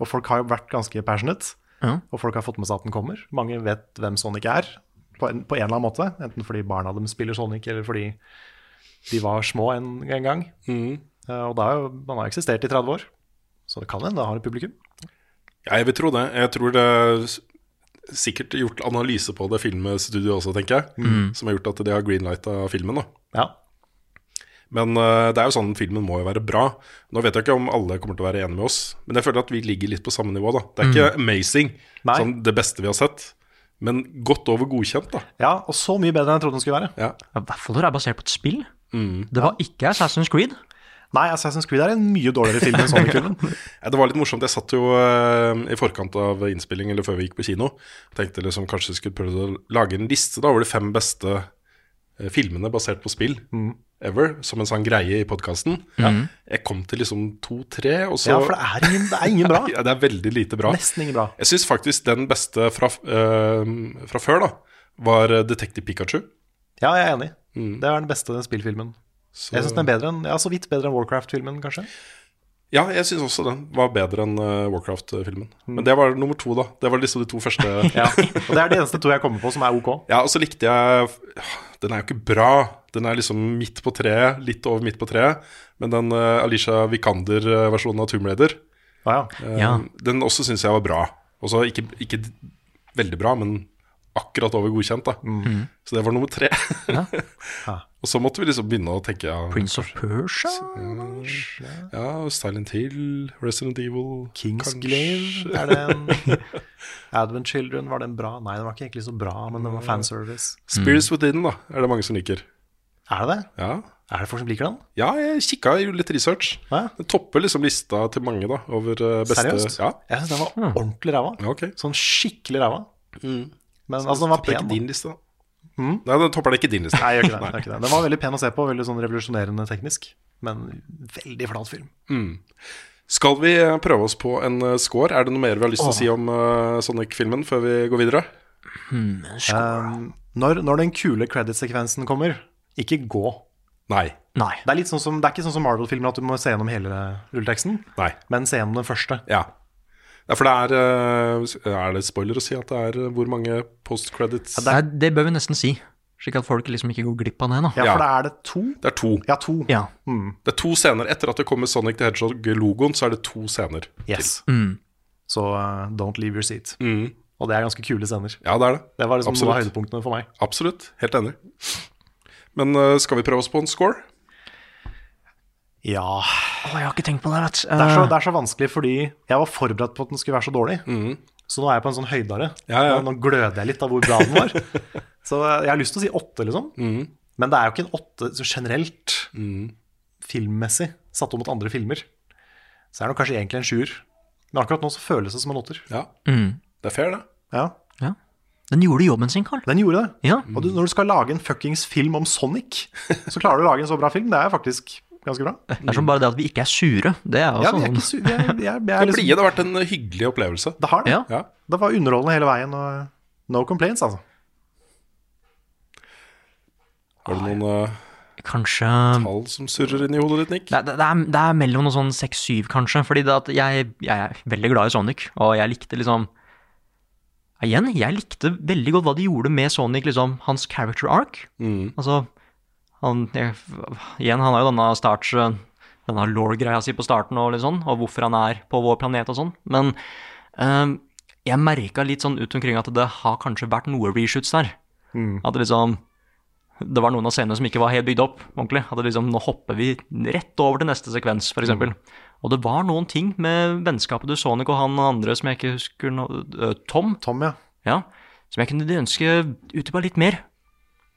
[SPEAKER 3] Og folk har jo vært ganske passionate,
[SPEAKER 1] Ja.
[SPEAKER 3] og folk har fått med seg at den kommer. Mange vet hvem Sonic er, på en, på en eller annen måte. Enten fordi barna dem spiller Sonic, eller fordi de var små en, en gang. Eh, Og det er jo, man har eksistert i 30 år. Så det kan hende det har et publikum.
[SPEAKER 2] Ja, jeg vil tro det. Jeg tror det er s- sikkert gjort analyse på det filmstudioet også, tenker jeg. Som har gjort at de har greenlighta filmen, da.
[SPEAKER 3] Ja.
[SPEAKER 2] Men eh, det er jo sånn filmen må jo være bra. Nå vet jeg ikke om alle kommer til å være enige med oss, men jeg føler at vi ligger litt på samme nivå, da. Det er ikke amazing,
[SPEAKER 3] Mm. Nei.
[SPEAKER 2] sånn det beste vi har sett, men godt over godkjent, da.
[SPEAKER 3] ja, og så mye bedre enn jeg trodde den skulle være.
[SPEAKER 2] Ja.
[SPEAKER 1] Ja, I hvert fall når det er basert på et spill. Det var ikke Assassin's Creed.
[SPEAKER 3] Nei, Assassin's Creed er en mye dårligere film enn Sonic-filmen.
[SPEAKER 2] Ja, Det var litt morsomt. Jeg satt jo eh, i forkant av innspilling, eller før vi gikk på kino, tenkte liksom kanskje jeg skulle prøve å lage en liste da, over de fem beste eh, filmene basert på spill
[SPEAKER 3] Mm.
[SPEAKER 2] ever, som en sånn greie i podkasten. Jeg kom til liksom to-tre, og så
[SPEAKER 3] Ja, for det er ingen, det er ingen bra.
[SPEAKER 2] Ja, det er veldig lite bra.
[SPEAKER 3] Nesten ingen bra.
[SPEAKER 2] Jeg syns faktisk den beste fra, eh, fra før da var eh, Detective Pikachu.
[SPEAKER 3] Ja, jeg er enig. Det er den beste spillfilmen.
[SPEAKER 2] Mm. Så,
[SPEAKER 3] Jeg syns den er bedre enn, ja, så vidt bedre enn Warcraft-filmen, kanskje.
[SPEAKER 2] Ja, jeg syns også den var bedre enn eh, Warcraft-filmen. Men det var nummer to, da. Det var liksom de to første
[SPEAKER 3] Ja. Og det er de eneste to jeg kommer på som er ok.
[SPEAKER 2] Ja, og så likte jeg ah, Den er jo ikke bra. Den er liksom midt på treet, litt over midt på treet. Men den eh, Alicia Vikander-versjonen av Tomb Raider,
[SPEAKER 3] Ja, ja.
[SPEAKER 2] eh,
[SPEAKER 1] Ja.
[SPEAKER 2] den også syns jeg var bra. Også ikke, ikke d- veldig bra, men akkurat over godkjent, da. Så det var nummer tre. og så måtte vi liksom begynne å tenke ja,
[SPEAKER 1] Prince of Persia?
[SPEAKER 2] ja Silent Hill, Resident Evil
[SPEAKER 3] Kings
[SPEAKER 2] kanskje.
[SPEAKER 3] Glaive, er det en Advent Children, var den bra? Nei, den var ikke egentlig så bra, men
[SPEAKER 2] Mm.
[SPEAKER 3] den var fanservice.
[SPEAKER 2] Spirits Within, da, er det mange som liker.
[SPEAKER 3] Er det det?
[SPEAKER 2] Ja,
[SPEAKER 3] Er det folk som liker den?
[SPEAKER 2] ja jeg kikka, gjorde litt research.
[SPEAKER 3] Hæ?
[SPEAKER 2] Den topper liksom lista til mange, da, over eh, beste
[SPEAKER 3] Seriøst?
[SPEAKER 2] Ja.
[SPEAKER 3] Jeg syns den var ordentlig ræva.
[SPEAKER 2] Ja, ok.
[SPEAKER 3] Sånn skikkelig ræva. Men altså, den var
[SPEAKER 2] Topper
[SPEAKER 3] pen.
[SPEAKER 2] ikke
[SPEAKER 3] da. Mm.
[SPEAKER 2] din liste, da. Nei, den topper det ikke din liste.
[SPEAKER 3] Nei, jeg gjør ikke det, jeg gjør ikke det. Den var veldig pen å se på, veldig sånn revolusjonerende teknisk. Men veldig flat film.
[SPEAKER 2] Skal vi eh, prøve oss på en eh, score? Er det noe mer vi har lyst til å si om eh, Sonic-filmen før vi går videre?
[SPEAKER 3] Um, når, når den kule credit-sekvensen kommer, ikke gå.
[SPEAKER 2] Nei.
[SPEAKER 1] Nei.
[SPEAKER 3] Det er, litt sånn som, det er ikke sånn som Marvel-filmer at du må se gjennom hele rulleteksten,
[SPEAKER 2] Nei.
[SPEAKER 3] men se gjennom den første.
[SPEAKER 2] Ja. ja for det er eh, Er det spoiler å si at det er eh, hvor mange post-credits
[SPEAKER 1] Det, det bør vi nesten si, slik at folk liksom ikke går glipp av det. da.
[SPEAKER 3] Ja,
[SPEAKER 2] Ja.
[SPEAKER 3] for da er det to.
[SPEAKER 2] Det er to.
[SPEAKER 3] Ja, to.
[SPEAKER 1] Ja.
[SPEAKER 2] Det er to scener. Etter at det kommer Sonic the Hedgehog-logoen, så er det to scener.
[SPEAKER 3] Yes. Så uh, don't leave your seat. Og det er ganske kule scener.
[SPEAKER 2] Ja, det er det.
[SPEAKER 3] Det var liksom noen av
[SPEAKER 2] Absolutt.
[SPEAKER 3] høydepunktene for meg.
[SPEAKER 2] Absolutt. Helt enig. Men eh, skal vi prøve oss på en score?
[SPEAKER 3] Ja.
[SPEAKER 1] Å, jeg har ikke tenkt på det, vet du.
[SPEAKER 3] Det er,
[SPEAKER 2] Ah.
[SPEAKER 3] så, det er så vanskelig fordi jeg var forberedt på at den skulle være så dårlig. Så nå er jeg på en sånn høydare.
[SPEAKER 2] Mhm. Ja, ja.
[SPEAKER 3] Nå, nå gløder jeg litt av hvor bra den var. så jeg har lyst til å si åtte, liksom.
[SPEAKER 2] Mm,
[SPEAKER 3] Men det er jo ikke en åtte så generelt, filmmessig, satt opp mot andre filmer. Så er det nok kanskje egentlig en sjuer. Men akkurat nå så føles det som en åtter.
[SPEAKER 2] Ja. Det er fair, det.
[SPEAKER 3] Ja,
[SPEAKER 1] Ja. Eh, mm. Den gjorde jobben sin, Carl.
[SPEAKER 3] den gjorde det.
[SPEAKER 1] Ja.
[SPEAKER 3] Og du,
[SPEAKER 2] Mm.
[SPEAKER 3] når du skal lage en fuckings film om Sonic, så klarer du å lage en så bra film. Det er faktisk ganske bra.
[SPEAKER 1] Det er som bare det at vi ikke er sure. Det Mm. er
[SPEAKER 3] Ja,
[SPEAKER 1] også
[SPEAKER 3] vi er
[SPEAKER 1] sånn-
[SPEAKER 3] ikke su... Vi er, vi er, vi er
[SPEAKER 2] Det sånn- blide
[SPEAKER 3] liksom,
[SPEAKER 2] har vært en eh, hyggelig opplevelse.
[SPEAKER 3] det har det.
[SPEAKER 1] Ja.
[SPEAKER 2] Ja.
[SPEAKER 3] Det var underholdende hele veien. Og no complaints, altså.
[SPEAKER 2] Har du noen eh,
[SPEAKER 1] Kanskje
[SPEAKER 2] tall som surrer inn i hodet ditt, Nick?
[SPEAKER 1] det, det, det, er, det er mellom noe sånn 6-7, kanskje. Fordi det at jeg, jeg er veldig glad i Sonic, og jeg likte liksom Igjen, jeg likte veldig godt hva de gjorde med Sonic, liksom, hans character arc. Altså, han jeg, Igjen, han har jo denne starts... eh, Denne law-greia si på starten og litt sånn, og hvorfor han er på vår planet og sånn. Men eh, jeg merka litt sånn ut omkring at det har kanskje vært noe reshoots der. At det liksom det var noen av scenene som ikke var helt bygd opp ordentlig. At det liksom, nå hopper vi rett over til neste sekvens, f.eks. eksempel. Og det var noen ting med vennskapet til Sonic og han andre som jeg ikke husker nå, øh, Tom,
[SPEAKER 3] Tom, ja.
[SPEAKER 1] ja, som jeg kunne ønske utdypa litt mer.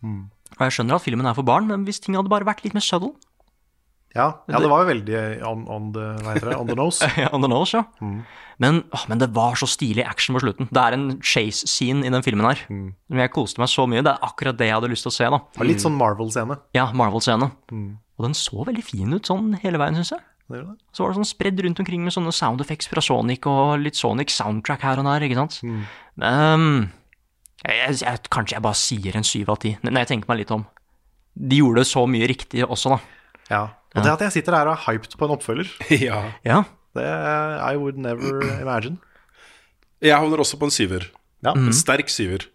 [SPEAKER 1] Og jeg skjønner at filmen er for barn, men hvis ting hadde bare vært litt mer subtle
[SPEAKER 3] Ja, ja det var jo veldig eh, on, on, the, hva heter det? on the nose.
[SPEAKER 1] ja, on the nose, ja. Men, åh, men det var så stilig action på slutten. Det er en chase-scene i den filmen her. Men jeg koste meg så mye. Det er akkurat det jeg hadde lyst til å se. da.
[SPEAKER 3] Det var Litt sånn Marvel-scene.
[SPEAKER 1] Ja, Marvel-scene. Og den så veldig fin ut sånn hele veien, syns jeg.
[SPEAKER 3] Det gjorde det.
[SPEAKER 1] Så var det sånn spredd rundt omkring med sånne sound effects fra Sonic og litt Sonic soundtrack her og der, ikke sant. Ehm, jeg, jeg, kanskje jeg bare sier en syv av ti, når jeg tenker meg litt om. De gjorde så mye riktig også, da.
[SPEAKER 3] Ja. Og det at jeg sitter her og er hyped på en oppfølger,
[SPEAKER 2] Ja.
[SPEAKER 1] Ja.
[SPEAKER 3] det eh, I would never imagine. Mm.
[SPEAKER 2] Jeg havner også på en syver.
[SPEAKER 3] Ja.
[SPEAKER 2] En sterk syver.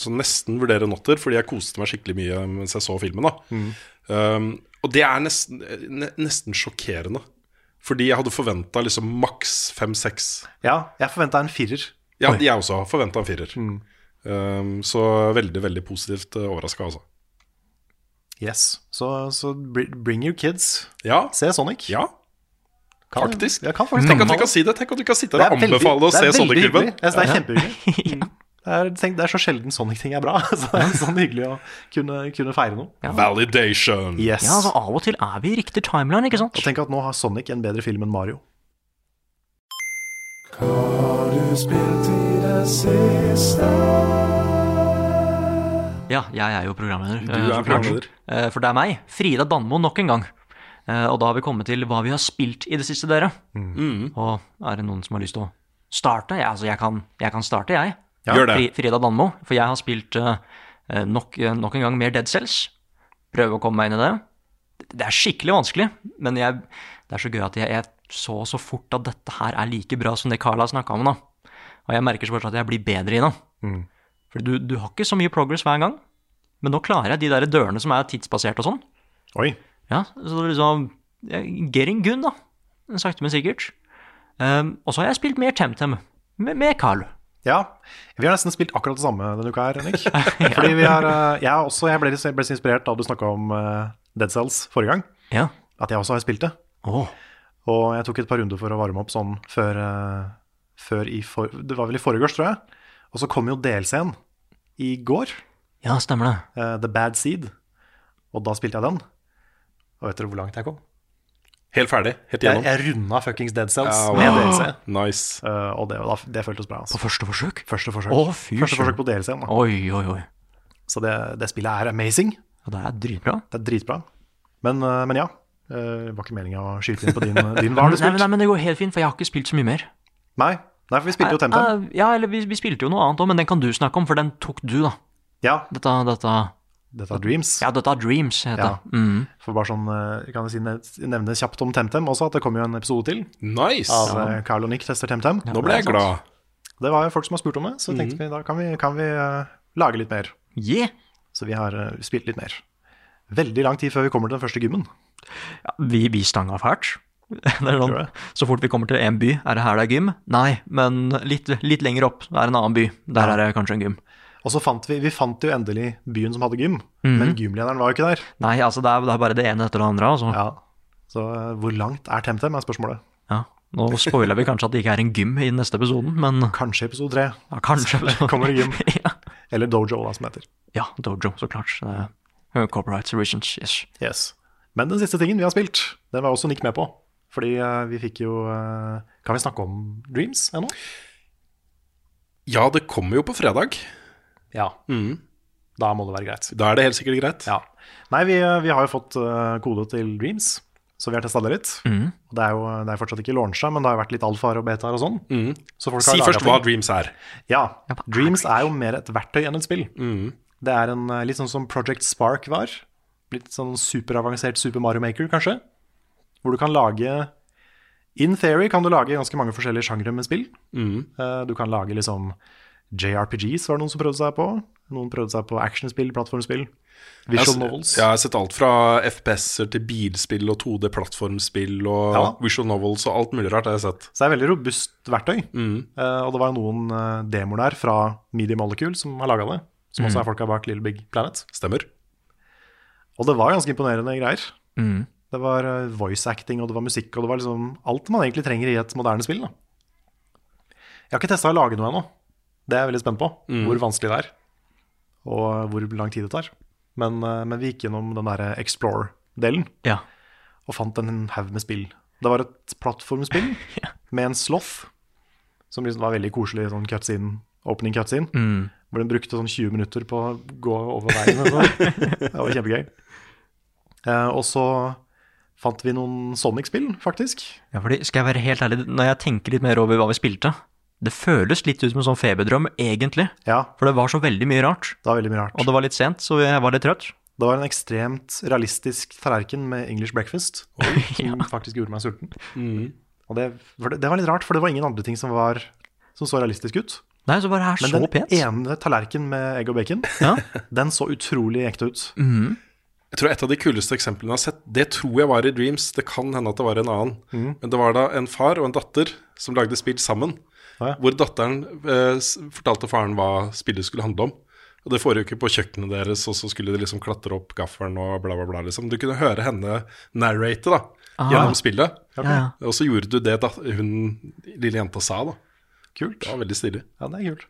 [SPEAKER 2] Så nesten vurderer en åtter, fordi jeg koste meg skikkelig mye mens jeg så filmen. da um, Og det er nesten, eh, ne, nesten sjokkerende. Fordi jeg hadde forventa liksom maks fem-seks.
[SPEAKER 3] Ja, jeg forventa en firer.
[SPEAKER 2] Ja, jeg også har forventa en firer. Um, så veldig, veldig positivt uh, overraska, altså.
[SPEAKER 3] Yes. Så, så br- bring your kids.
[SPEAKER 2] Ja.
[SPEAKER 3] Se Sonic.
[SPEAKER 2] ja.
[SPEAKER 3] Kan-
[SPEAKER 2] Faktisk.
[SPEAKER 3] Jeg kan faktisk
[SPEAKER 2] Tenk at vi
[SPEAKER 3] anbefale.
[SPEAKER 2] kan si det. Tenk at vi kan sitte her og anbefale å
[SPEAKER 3] det
[SPEAKER 2] se
[SPEAKER 3] er veldig
[SPEAKER 2] Sonic-filmen.
[SPEAKER 3] hyggelig. Jeg synes det er kjempehyggelig. Mm. Det er, tenk, det er så sjelden Sonic-ting er bra. Så det er sånn hyggelig å kunne, kunne feire noe.
[SPEAKER 2] Validation.
[SPEAKER 3] Yes.
[SPEAKER 1] ja, altså Av og til er vi i riktig timeline, ikke sant?
[SPEAKER 3] Og tenk at nå har Sonic en bedre film enn Mario.
[SPEAKER 1] Ja, jeg er jo programleder.
[SPEAKER 2] Du er
[SPEAKER 1] så klart.
[SPEAKER 2] programleder.
[SPEAKER 1] Eh, For det er meg, Frida Danmo, nok en gang. Eh, Og da har vi kommet til hva vi har spilt i det siste, dere.
[SPEAKER 2] Mm.
[SPEAKER 1] Og er det noen som har lyst til å starte? Ja, altså, jeg kan, jeg kan starte, jeg.
[SPEAKER 2] Gjør det.
[SPEAKER 1] Fri- Frida Danmo. For jeg har spilt eh, eh, nok, eh, nok en gang mer Dead Cells. Prøve å komme meg inn i det. Det er skikkelig vanskelig, men jeg, det er så gøy at jeg, jeg så så fort at dette her er like bra som det Carla snakka om. da. Og jeg merker så fort at jeg blir bedre i det.
[SPEAKER 2] Mm.
[SPEAKER 1] For du, du har ikke så mye progress hver gang, men nå klarer jeg de der dørene som er tidsbasert og sånn.
[SPEAKER 3] Oi.
[SPEAKER 1] Ja, så det er liksom eh, Getting good, da. Sakte, men sikkert. Um, og så har jeg spilt mer TemTem, med, med Carl.
[SPEAKER 3] Ja. Vi har nesten spilt akkurat det samme denne uka her, Henrik. Fordi vi har eh, Jeg, har også, jeg ble, jeg ble så inspirert da du snakka om eh, Dead Cells forrige gang,
[SPEAKER 1] Ja.
[SPEAKER 3] at jeg også har spilt det.
[SPEAKER 1] Åh,
[SPEAKER 3] Og jeg tok et par runder for å varme opp sånn før, eh, før i for, Det var vel i forgårs, tror jeg. Og så kom jo DLC-en i går,
[SPEAKER 1] ja, stemmer det.
[SPEAKER 3] eh, The Bad Seed. Og da spilte jeg den. Og vet dere hvor langt jeg kom?
[SPEAKER 2] Helt ferdig. Helt
[SPEAKER 3] Jeg,
[SPEAKER 2] igjennom.
[SPEAKER 3] jeg runda fuckings Dead Cells
[SPEAKER 2] Ja, wow.
[SPEAKER 3] med DLC.
[SPEAKER 2] Nice.
[SPEAKER 3] eh, og det, og da- det føltes bra. Altså.
[SPEAKER 1] På første forsøk?
[SPEAKER 3] Første forsøk.
[SPEAKER 1] Å, fy
[SPEAKER 3] første
[SPEAKER 1] søren.
[SPEAKER 3] forsøk på DLC-en. da.
[SPEAKER 1] Oi, oi, oi.
[SPEAKER 3] Så det, det spillet er amazing.
[SPEAKER 1] Ja, det er dritbra.
[SPEAKER 3] Det er dritbra. Men, eh, men ja. eh, Det var ikke meninga å skyte inn på din, din hva har du
[SPEAKER 1] Nei,
[SPEAKER 3] spilt?
[SPEAKER 1] men, nei, men det går helt fint, for jeg har ikke spilt så mye mer.
[SPEAKER 3] Nei, nei, for vi spilte jo Temtem.
[SPEAKER 1] Eh, Ja, eller vi, vi spilte jo noe annet òg, men den kan du snakke om, for den tok du, da.
[SPEAKER 3] Ja,
[SPEAKER 1] Dette, dette
[SPEAKER 3] dette er Dreams.
[SPEAKER 1] Ja, dette er Dreams, heter
[SPEAKER 3] Ja.
[SPEAKER 1] det. Mm.
[SPEAKER 3] For bare sånn, eh, kan jeg si, ne- nevne kjapt om Temtem også, at det kommer jo en episode til
[SPEAKER 2] Nice.
[SPEAKER 3] av eh, Carl og Nick tester Temtem.
[SPEAKER 2] Nå ble jeg glad.
[SPEAKER 3] Det var jo folk som har spurt om det,
[SPEAKER 1] Mhm.
[SPEAKER 3] så tenkte vi da kan vi, kan vi eh, lage litt mer.
[SPEAKER 1] Yeah.
[SPEAKER 3] Så vi har eh, spilt litt mer. Veldig lang tid før vi kommer til den første gymmen.
[SPEAKER 1] Ja, vi, vi stanga fælt. Det er sånn,
[SPEAKER 3] Gjorde det?
[SPEAKER 1] så fort vi kommer til en by, er det her det er gym? Nei, men litt, litt lenger opp det er en annen by. Der er det kanskje en gym.
[SPEAKER 3] Og så fant vi, vi fant jo endelig
[SPEAKER 1] Mhm.
[SPEAKER 3] byen som hadde gym, men gymlederen var jo ikke der.
[SPEAKER 1] Nei, altså det er, det er bare det ene etter det andre. Altså.
[SPEAKER 3] Ja. Så eh, hvor langt er Temtem, er spørsmålet.
[SPEAKER 1] Ja, Nå spoiler vi kanskje at det ikke er en gym i neste episoden, men
[SPEAKER 3] Kanskje episode tre.
[SPEAKER 1] ja, kanskje.
[SPEAKER 3] Kommer det gym?
[SPEAKER 1] ja.
[SPEAKER 3] Eller Dojo, da, som heter.
[SPEAKER 1] ja, dojo, så klart. Eh, Copyright reasons, yes.
[SPEAKER 3] Yes. Men den siste tingen vi har spilt, den var også Nick med på. Fordi eh, vi fikk jo eh, Kan vi snakke om Dreams ennå?
[SPEAKER 2] Ja, det kommer jo på fredag.
[SPEAKER 3] Ja. Da må det være greit.
[SPEAKER 2] Da er det helt sikkert greit.
[SPEAKER 3] Mm. Ja. Nei, vi, vi har jo fått eh, kode til Dreams, så vi har testa det litt.
[SPEAKER 2] Mm.
[SPEAKER 3] Og Det er jo det er fortsatt ikke launcha, men det har jo vært litt alfaer og betaer og sånn. Så folk har
[SPEAKER 2] Mm. Si
[SPEAKER 3] laget
[SPEAKER 2] først
[SPEAKER 3] ting.
[SPEAKER 2] hva Dreams er.
[SPEAKER 3] Ja. Dreams er jo mer et verktøy enn et spill. Det er en, eh, litt sånn som Project Spark var. Litt sånn superavansert Super Mario Maker, kanskje. Hvor du kan lage In theory kan du lage ganske mange forskjellige sjangre med spill. Eh, Du kan lage liksom JRPGs, var det noen som prøvde seg på. Noen prøvde seg på actionspill, plattformspill.
[SPEAKER 2] Jeg
[SPEAKER 3] Visual
[SPEAKER 2] har-
[SPEAKER 3] novels.
[SPEAKER 2] Jeg har sett alt fra FPS-er til bilspill og 2D-plattformspill og
[SPEAKER 3] Ja.
[SPEAKER 2] visual novels og alt mulig rart har jeg sett.
[SPEAKER 3] Så det er veldig robust verktøy. Eh, og det var jo noen eh, demoer der fra Media Molecule som har laga det. Som også er folka bak Little Big Planet.
[SPEAKER 2] Stemmer.
[SPEAKER 3] Og det var ganske imponerende greier. Det var eh, voice acting, og det var musikk, og det var liksom alt man egentlig trenger i et moderne spill. Da. Jeg har ikke testa å lage noe ennå. Det er jeg veldig spent på. Hvor vanskelig det er, og hvor lang tid det tar. Men, eh, men vi gikk gjennom den derre Explore-delen
[SPEAKER 1] Ja.
[SPEAKER 3] og fant en haug med spill. Det var et plattformspill med en sloth, som liksom var veldig koselig sånn cutscene, opening cutscene,
[SPEAKER 1] mm.
[SPEAKER 3] hvor den brukte sånn 20 minutter på å gå over veien. og sånn. det var kjempegøy. Eh, og så fant vi noen Sonic-spill, faktisk.
[SPEAKER 1] Ja, fordi skal jeg være helt ærlig, når jeg tenker litt mer over hva vi spilte, det føles litt ut som en sånn feberdrøm, egentlig.
[SPEAKER 3] Ja,
[SPEAKER 1] For det var så veldig mye rart,
[SPEAKER 3] det var veldig mye
[SPEAKER 1] og
[SPEAKER 3] rart.
[SPEAKER 1] det var litt sent, så jeg var litt trøtt.
[SPEAKER 3] Det var en ekstremt realistisk tallerken med English breakfast, som faktisk gjorde meg sulten.
[SPEAKER 1] Mm.
[SPEAKER 3] Og det, for det, det var litt rart, for det var ingen andre ting som, var, som så realistisk ut.
[SPEAKER 1] Nei, så var det her
[SPEAKER 3] Men
[SPEAKER 1] så
[SPEAKER 3] den
[SPEAKER 1] pent.
[SPEAKER 3] ene tallerkenen med egg og bacon,
[SPEAKER 1] Ja. Mm.
[SPEAKER 3] den så utrolig ekte ut.
[SPEAKER 2] Jeg tror et av de kuleste eksemplene jeg har sett, det tror jeg var i Dreams. Det kan hende at det var en annen. Men det var da en far og en datter som lagde spill sammen.
[SPEAKER 3] Ja.
[SPEAKER 2] Hvor datteren eh, s- fortalte faren hva spillet skulle handle om. Og det foregikk jo på kjøkkenet deres, og så skulle de liksom klatre opp gaffelen og bla, bla, bla. liksom. Du kunne høre henne narrate da, gjennom spillet.
[SPEAKER 1] Ja, ja.
[SPEAKER 2] Og så gjorde du det da, hun lille jenta sa, da.
[SPEAKER 3] Kult.
[SPEAKER 2] Det var veldig stilig.
[SPEAKER 3] Ja, det er kult.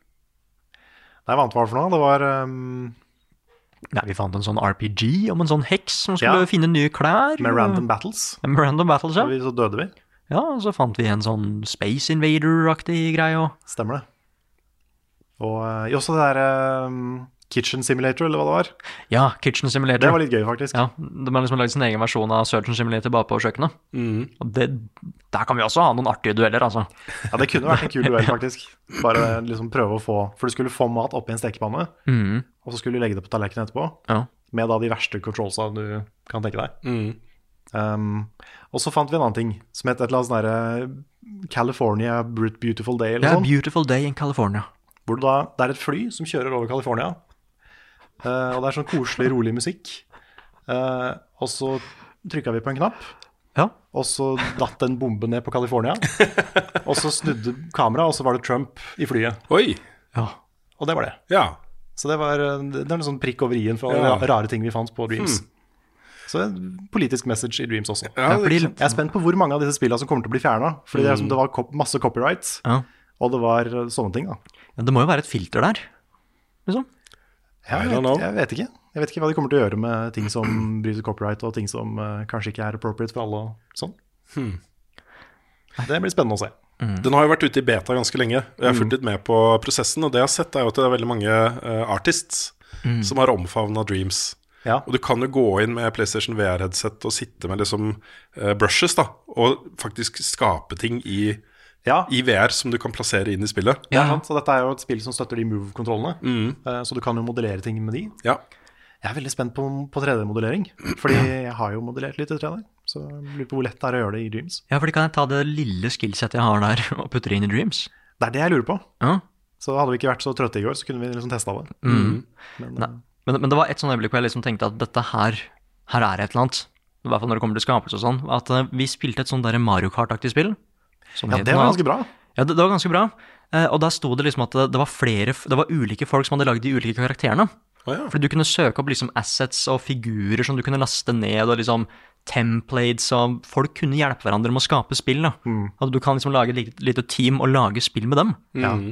[SPEAKER 3] Nei, hva annet var det for noe? Det var ehm,
[SPEAKER 1] Nei, vi fant en sånn RPG om en sånn heks som skulle
[SPEAKER 3] Ja.
[SPEAKER 1] finne nye klær.
[SPEAKER 3] med
[SPEAKER 1] og-
[SPEAKER 3] random battles.
[SPEAKER 1] Ja, Med random battles,
[SPEAKER 3] Så,
[SPEAKER 1] ja.
[SPEAKER 3] vi, så døde vi.
[SPEAKER 1] Ja, og så fant vi en sånn Space Invader-aktig greie og
[SPEAKER 3] Stemmer det. Og eh, også det der ehm, Kitchen Simulator, eller hva det var.
[SPEAKER 1] Ja, Kitchen Simulator.
[SPEAKER 3] Det var litt gøy, faktisk.
[SPEAKER 1] Ja, De har liksom lagd sin egen versjon av Surgeon Simulator bare på kjøkkenet.
[SPEAKER 2] Mm,
[SPEAKER 1] Og det, der kan vi også ha noen artige dueller, altså.
[SPEAKER 3] Ja, Det kunne vært en kul duell, faktisk. Bare liksom prøve å få For du skulle få mat oppi en stekepanne,
[SPEAKER 1] Mm.
[SPEAKER 3] og så skulle du legge det på tallerkenen etterpå.
[SPEAKER 1] Ja.
[SPEAKER 3] Med da de verste controlsa du kan tenke deg.
[SPEAKER 2] mm.
[SPEAKER 3] Um, og så fant vi en annen ting som het et eller annet sånn derre California Brut Beautiful Day
[SPEAKER 1] Det
[SPEAKER 3] eller
[SPEAKER 1] er
[SPEAKER 3] sånn.
[SPEAKER 1] Beautiful Day in California.
[SPEAKER 3] Hvor det, da, det er et fly som kjører over California. Eh, og det er sånn koselig, rolig musikk. Eh, og så trykka vi på en knapp,
[SPEAKER 1] Ja.
[SPEAKER 3] og så datt en bombe ned på California. Og så snudde kameraet, og så var det Trump i flyet.
[SPEAKER 2] Oi!
[SPEAKER 1] ja.
[SPEAKER 3] Og det var det.
[SPEAKER 2] Ja.
[SPEAKER 3] Så det var eh, det det er en sånn prikk over i-en for
[SPEAKER 2] Ja.
[SPEAKER 3] ra- rare ting vi fant på Dreams. Så en politisk message i Dreams også.
[SPEAKER 2] ja
[SPEAKER 1] fordi-
[SPEAKER 2] ikke sant?
[SPEAKER 3] Jeg er spent på hvor mange av disse spillene som kommer til å bli fjerna. Fordi det, er som, det var kop masse copyrights,
[SPEAKER 1] Ja.
[SPEAKER 3] og det var eh, sånne ting. da
[SPEAKER 1] Ja, Det må jo være et filter der, liksom.
[SPEAKER 2] I
[SPEAKER 3] Jeg
[SPEAKER 2] don't
[SPEAKER 3] vet,
[SPEAKER 2] know.
[SPEAKER 3] jeg vet ikke. Jeg vet ikke hva de kommer til å gjøre med ting som bryter copyright, og ting som eh, kanskje ikke er appropriate for alle og sånn.
[SPEAKER 2] Hmm.
[SPEAKER 3] Det blir spennende å se.
[SPEAKER 2] Den har jo vært ute i beta ganske lenge. og Jeg har
[SPEAKER 3] Mm.
[SPEAKER 2] fulgt litt med på prosessen, og det jeg har sett, er jo at det er veldig mange eh, artists som har omfavna Dreams.
[SPEAKER 3] Mm. Ja.
[SPEAKER 2] Og du kan jo gå inn med PlayStation VR-headset og sitte med liksom eh, brushes, da, og faktisk skape ting i,
[SPEAKER 3] ja.
[SPEAKER 2] i VR som du kan plassere inn i spillet. Mm,
[SPEAKER 3] Det er sant, så dette er jo et spill som støtter de move-kontrollene, eh, så du kan jo modellere ting med de.
[SPEAKER 2] Ja.
[SPEAKER 3] Jeg er veldig spent på, på 3D-modellering, fordi jeg har jo modellert litt i 3D. Så jeg lurer på hvor lett det er å gjøre det i Dreams.
[SPEAKER 1] Ja, fordi kan jeg ta det lille skillsettet jeg har der, og putte det inn i Dreams?
[SPEAKER 3] Det er det jeg lurer på.
[SPEAKER 1] Ja.
[SPEAKER 3] Så hadde vi ikke vært så trøtte i går, så kunne vi liksom testa
[SPEAKER 2] Mm.
[SPEAKER 3] det.
[SPEAKER 1] Nei. Men, men det var et sånn øyeblikk hvor jeg liksom tenkte at dette her, her er et eller annet. I hvert fall når det kommer til skapelse og sånn. At eh, vi spilte et sånn der Mario Kart-aktig spill. som
[SPEAKER 3] Ja,
[SPEAKER 1] het
[SPEAKER 3] det
[SPEAKER 1] noe
[SPEAKER 3] var
[SPEAKER 1] annet.
[SPEAKER 3] ganske bra.
[SPEAKER 1] Ja, det, det var ganske bra. Eh, og der sto det liksom at det, det, var flere, f- det var ulike folk som hadde lagd de ulike karakterene.
[SPEAKER 2] Å ja.
[SPEAKER 1] Fordi du kunne søke opp liksom assets og figurer som du kunne laste ned, og liksom templates, og folk kunne hjelpe hverandre med å skape spill. Da.
[SPEAKER 3] Mm.
[SPEAKER 1] At du kan liksom lage et lite, lite team og lage spill med dem.
[SPEAKER 3] Ja.
[SPEAKER 2] Mm.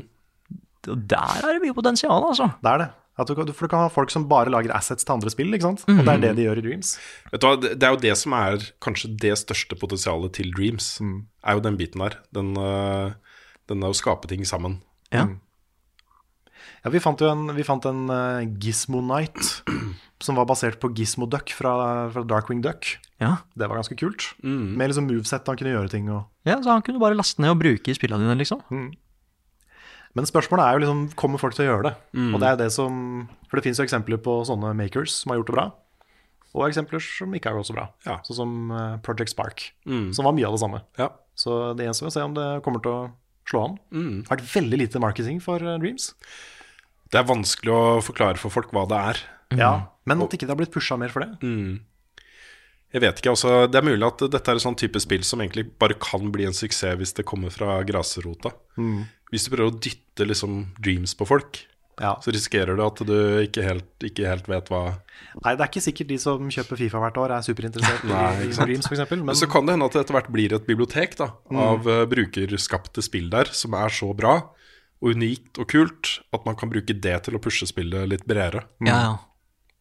[SPEAKER 1] Og der er det mye potensial, altså.
[SPEAKER 3] Det er det. At du, kan- for du kan ha folk som bare lager assets til andre spill, ikke sant? Og
[SPEAKER 2] Mm.
[SPEAKER 3] det er det de gjør i Dreams.
[SPEAKER 2] Vet du hva, Det det er jo det som er kanskje det største potensialet til Dreams.
[SPEAKER 3] Mm.
[SPEAKER 2] Er jo den biten der. Den, øh, den er å skape ting sammen.
[SPEAKER 1] Ja.
[SPEAKER 3] Ja, vi fant jo en, vi fant en eh, Gizmo Knight som var basert på Gizmo Duck fra, fra Darkwing Duck.
[SPEAKER 1] ja.
[SPEAKER 3] Det var ganske kult. Med liksom moveset han kunne gjøre ting og
[SPEAKER 1] Ja, så han kunne bare laste ned og bruke i spillene dine, liksom.
[SPEAKER 3] Men spørsmålet er jo liksom, kommer folk til å gjøre det? Og det er jo det som For det fins jo eksempler på sånne makers som har gjort det bra, og eksempler som ikke har gått så bra.
[SPEAKER 2] Ja.
[SPEAKER 3] Sånn som eh, Project Spark, som var mye av det samme.
[SPEAKER 2] Ja.
[SPEAKER 3] Så det gjenstår å se om det kommer til å slå an. Det har vært veldig lite marketing for eh, Dreams.
[SPEAKER 2] Det er vanskelig å forklare for folk hva det er.
[SPEAKER 3] Ja, Men at ikke det har blitt pusha mer for det.
[SPEAKER 2] Jeg vet ikke, altså, Det er mulig at dette er en sånn type spill som egentlig bare kan bli en suksess hvis det kommer fra grasrota. Hvis du prøver å dytte liksom dreams på folk,
[SPEAKER 3] Ja.
[SPEAKER 2] så risikerer du at du ikke helt, ikke helt vet hva
[SPEAKER 3] Nei, det er ikke sikkert de som kjøper Fifa hvert år, er superinteressert i, i Dreams, f.eks.
[SPEAKER 2] Men
[SPEAKER 3] Men
[SPEAKER 2] så kan det hende at det etter hvert blir et bibliotek da, av eh, brukerskapte spill der, som er så bra og unikt og kult at man kan bruke det til å pushe spillet litt bredere.
[SPEAKER 1] Ja, ja.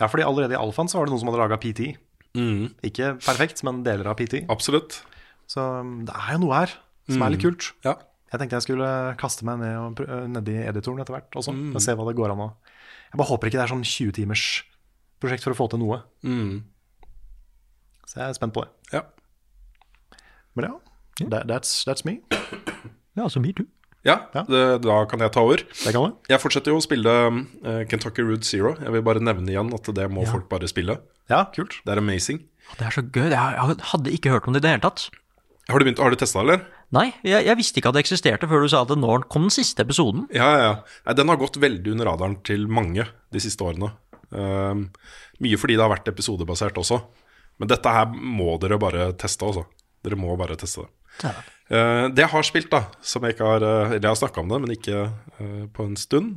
[SPEAKER 3] ja, fordi allerede i alfaen så var det noen som hadde laga PT.
[SPEAKER 2] Mm.
[SPEAKER 3] Ikke perfekt, men deler av PT.
[SPEAKER 2] Absolutt.
[SPEAKER 3] Så um, det er jo noe her som er litt kult.
[SPEAKER 2] Ja.
[SPEAKER 3] Jeg tenkte jeg skulle kaste meg ned og prø- nedi editoren etter hvert også, og se hva det går an å Jeg bare håper ikke det er sånn 20-timers prosjekt for å få til noe. Så jeg er spent på det.
[SPEAKER 2] Mm. Ja.
[SPEAKER 3] Men ja, that, that's, that's me.
[SPEAKER 1] ja så mye du.
[SPEAKER 2] ja,
[SPEAKER 3] Ja.
[SPEAKER 2] Det, da kan jeg ta over.
[SPEAKER 3] Det kan du.
[SPEAKER 2] Jeg fortsetter jo å spille eh, Kentucky Route Zero. Jeg vil bare nevne igjen at det må folk bare spille.
[SPEAKER 3] Ja, kult.
[SPEAKER 2] Det er amazing.
[SPEAKER 1] Det er så gøy. Jeg jeg hadde ikke hørt om det i det hele tatt.
[SPEAKER 2] Har du, begynt, har du testa, eller?
[SPEAKER 1] Nei, jeg, jeg visste ikke at det eksisterte før du sa at det nå kom den siste episoden.
[SPEAKER 2] Ja, ja, ja. Nei, Den har gått veldig under radaren til mange de siste årene. Ehm, mye fordi det har vært episodebasert også. Men dette her må dere bare teste, altså. Dere må bare teste det. Eh, det jeg har spilt, da, som jeg ikke har eh, Eller jeg har snakka om det, men ikke eh, på en stund.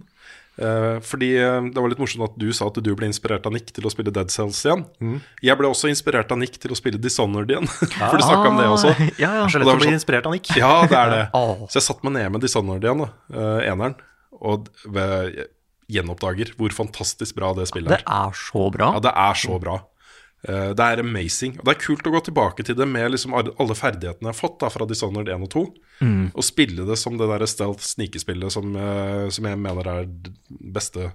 [SPEAKER 2] Eh, fordi eh, det var litt morsomt at du sa at du ble inspirert av Nick til å spille Dead Cells igjen.
[SPEAKER 1] Mm.
[SPEAKER 2] Jeg ble også inspirert av Nick til å spille Dishonored igjen. For du snakka om det også.
[SPEAKER 1] Ah, Ja, Ah.
[SPEAKER 3] Det
[SPEAKER 1] ja.
[SPEAKER 3] er så
[SPEAKER 2] Og
[SPEAKER 3] lett å
[SPEAKER 2] det var
[SPEAKER 3] bli
[SPEAKER 2] sånn-
[SPEAKER 3] inspirert av Nick.
[SPEAKER 2] Ja, det er det.
[SPEAKER 1] Åh.
[SPEAKER 2] Så jeg satte meg ned med Dishonored igjen, da, eh, eneren, og d- ved- gjenoppdager hvor fantastisk bra det spillet
[SPEAKER 1] Det
[SPEAKER 2] er.
[SPEAKER 1] er så bra.
[SPEAKER 2] Ja, det er så bra. Eh, Det er amazing. Og det er kult å gå tilbake til det med liksom ar- alle ferdighetene jeg har fått da, fra Dishonored 1 og 2, og spille det som det der stealth snikespillet som, eh, som jeg mener er d- beste